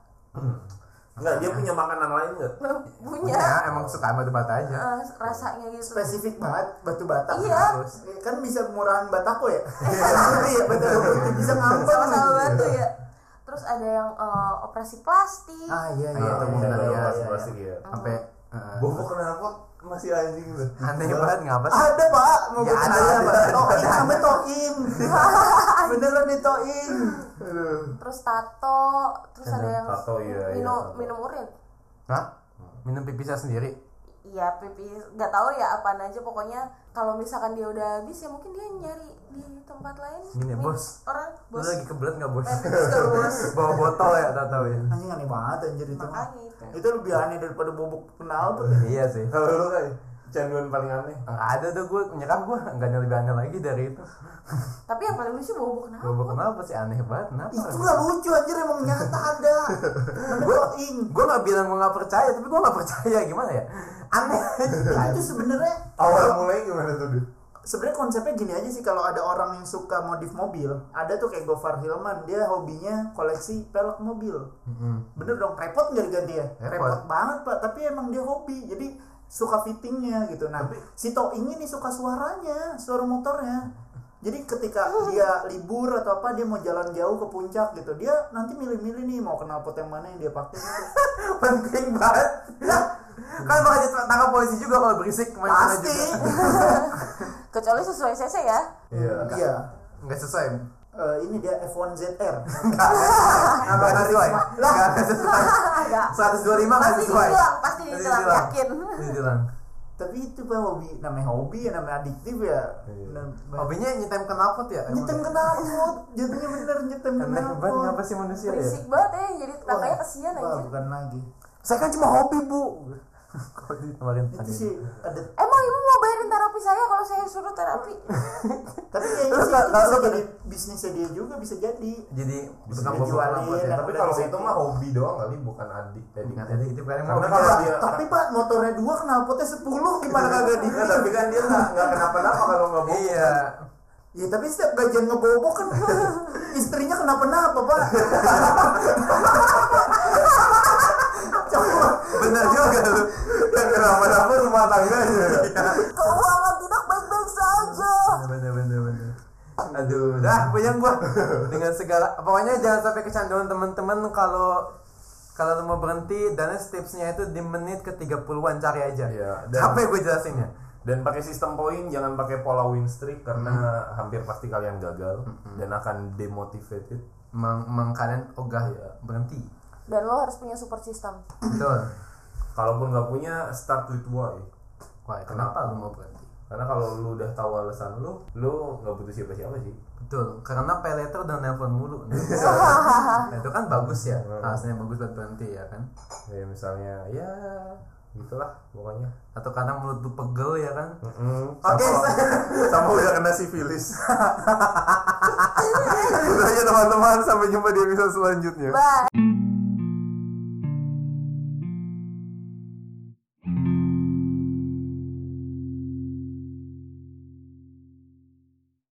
S1: [laughs]
S2: Enggak, dia punya makanan lain enggak?
S1: punya
S3: emang suka sama tempat
S2: Iya.
S3: aja.
S1: eh, rasanya gitu
S4: Spesifik banget batu bata.
S1: Iya.
S4: Kan bisa murahan batako ya. Gitu ya batu bata bisa ngampar.
S1: sama-sama batu ya terus ada yang eh, operasi plastik
S4: Ah iya iya.
S3: Ah, itu mungkin
S4: iya,
S3: ada
S4: iya,
S3: operasi
S4: iya,
S2: pasti
S4: iya.
S2: ya.
S3: Sampai eh,
S2: Bobok kenapa masih anjing tuh?
S3: aneh banget ngapa sih?
S4: Ada pak, mau
S3: Ya, ada,
S4: bertanya
S3: ada,
S4: pak.
S3: ada.
S4: Toing sampai
S1: [laughs]
S4: toing. Beneran nih toing.
S1: terus tato terus ada yang
S2: iya. Tato, iya, iya,
S1: minum
S2: tato.
S1: minum urin
S3: Hah? Minum pipisnya sendiri?
S1: ya pipi nggak tahu ya apaan aja pokoknya kalau misalkan dia udah habis ya mungkin dia nyari di tempat lain
S3: Gini,
S1: Nih,
S3: bos.
S1: orang
S3: Lu
S1: bos
S3: lagi gitu. kebelet nggak bos?
S1: Pipis ke bos
S3: [laughs] Bawa botol ya, tak tahu ya.
S4: Anjing aneh banget anjir itu. mah.
S1: makanya itu
S4: Itu lebih aneh daripada bobok knalpot.
S3: Iya sih.
S2: Kalau lu kan kecanduan paling aneh.
S3: Nggak ada tuh gue nyerah gue nggak ada lebih aneh lagi dari itu.
S1: tapi yang paling lucu bobo kenapa
S3: Gue kenapa sih aneh banget? Kenapa?
S4: itu nggak lucu anjir emang nyata ada
S1: [laughs]
S4: ing
S3: gue nggak bilang gue nggak percaya tapi gue nggak percaya gimana ya [laughs] aneh
S4: itu tuh sebenarnya
S2: Awal mulai gimana tuh, Dud?
S4: sebenarnya konsepnya gini aja sih kalau ada orang yang suka modif mobil ada tuh kayak Gofar Hilman dia hobinya koleksi pelek mobil bener dong repot nggak diganti ya
S3: Repot.
S4: repot. banget pak tapi emang dia hobi jadi suka fittingnya gitu nah si Toing ini suka suaranya suara motornya jadi ketika dia libur atau apa dia mau jalan jauh ke puncak gitu dia nanti milih-milih nih mau kenal pot yang mana yang dia pakai gitu.
S3: penting banget
S4: Lah,
S2: kan bakal ditangkap polisi juga kalau berisik main-main aja.
S4: pasti
S1: kecuali sesuai CC ya
S2: Iya.
S4: iya
S3: nggak sesuai
S4: Eh, ini dia F1 ZR
S2: Nggak sesuai. Nggak sesuai.
S1: agak
S2: 125 nggak
S1: pasti
S2: sesuai.
S1: ditilang pasti ditilang
S2: ditilang.
S1: yakin
S2: Ditilang.
S4: tapi itu pak hobi namanya hobi ya namanya adiktif ya
S2: Iya.
S4: Nam-
S3: hobinya nyetem kenalpot ya emang?
S4: nyetem knalpot jatuhnya bener nyetem
S2: Enak banget
S4: knalpot
S2: ngapa sih
S3: Iya.
S2: manusia ya?
S1: berisik banget ya yang jadi tetangganya
S4: Wah,
S1: kesian
S4: wah,
S1: aja
S4: bukan lagi
S2: Saya kan cuma hobi, Bu.
S3: [laughs]
S2: Kok ditambahin
S4: itu sih ada
S1: emang ibu Eh, mau bayarin terapi saya kalau saya suruh terapi
S4: tapi kayaknya
S2: Lu
S4: sih
S2: tak-
S4: itu
S2: tak-
S4: bisa
S2: lu-
S4: jadi bisnisnya dia juga bisa jadi
S3: jadi
S2: Bisa
S3: tukang
S4: dijualin,
S3: bobok kenalpot ya.
S4: enak.
S2: Tapi kalau itu mah hobi doang kali, bukan adik. Jadi
S3: Nggak tadi itu bukan yang mau
S2: Karena kalau
S4: Pak,
S2: dia- Iya.
S4: tapi pak motornya dua knalpotnya sepuluh gimana kagak di
S2: Nggak, tapi kan dia nggak nggak kenapa-napa kalau nggak bohong.
S3: iya
S4: ya tapi setiap gajian ngebobok kan istrinya kenapa-napa
S2: [laughs]
S4: pak coba
S2: Bener juga lu.
S3: Kan
S2: Yang kenapa-napa rumah tangga aja.
S4: Iya.
S1: keuangan tidak baik-baik saja
S3: bener bener bener aduh dah puyeng gua dengan segala pokoknya jangan sampai kecanduan teman-teman kalau kalau lu mau berhenti dan tipsnya itu di menit ke 30-an cari aja
S2: Iya, dan-
S3: capek gue jelasinnya
S2: Dan pakai sistem poin, jangan pakai pola win streak karena hampir pasti kalian gagal dan akan demotivated.
S3: Meng, meng kalian ogah ya,
S2: Iya.
S3: berhenti
S1: dan lo harus punya support system
S3: betul
S2: Kalaupun nggak punya, start with why.
S3: wah kenapa lu mau berhenti
S2: Karena kalau lu udah tahu alasan lu, lu nggak butuh siapa-siapa sih.
S3: Betul, karena pay later udah nelpon mulu. Nah, itu kan bagus ya, alasannya bagus buat berhenti ya kan.
S2: Kayak misalnya, ya gitulah pokoknya.
S3: Atau karena mulut lu pegel ya kan.
S2: Oke, [laughs] sama udah kena sifilis. Itu aja teman-teman, sampai jumpa di episode selanjutnya.
S1: bye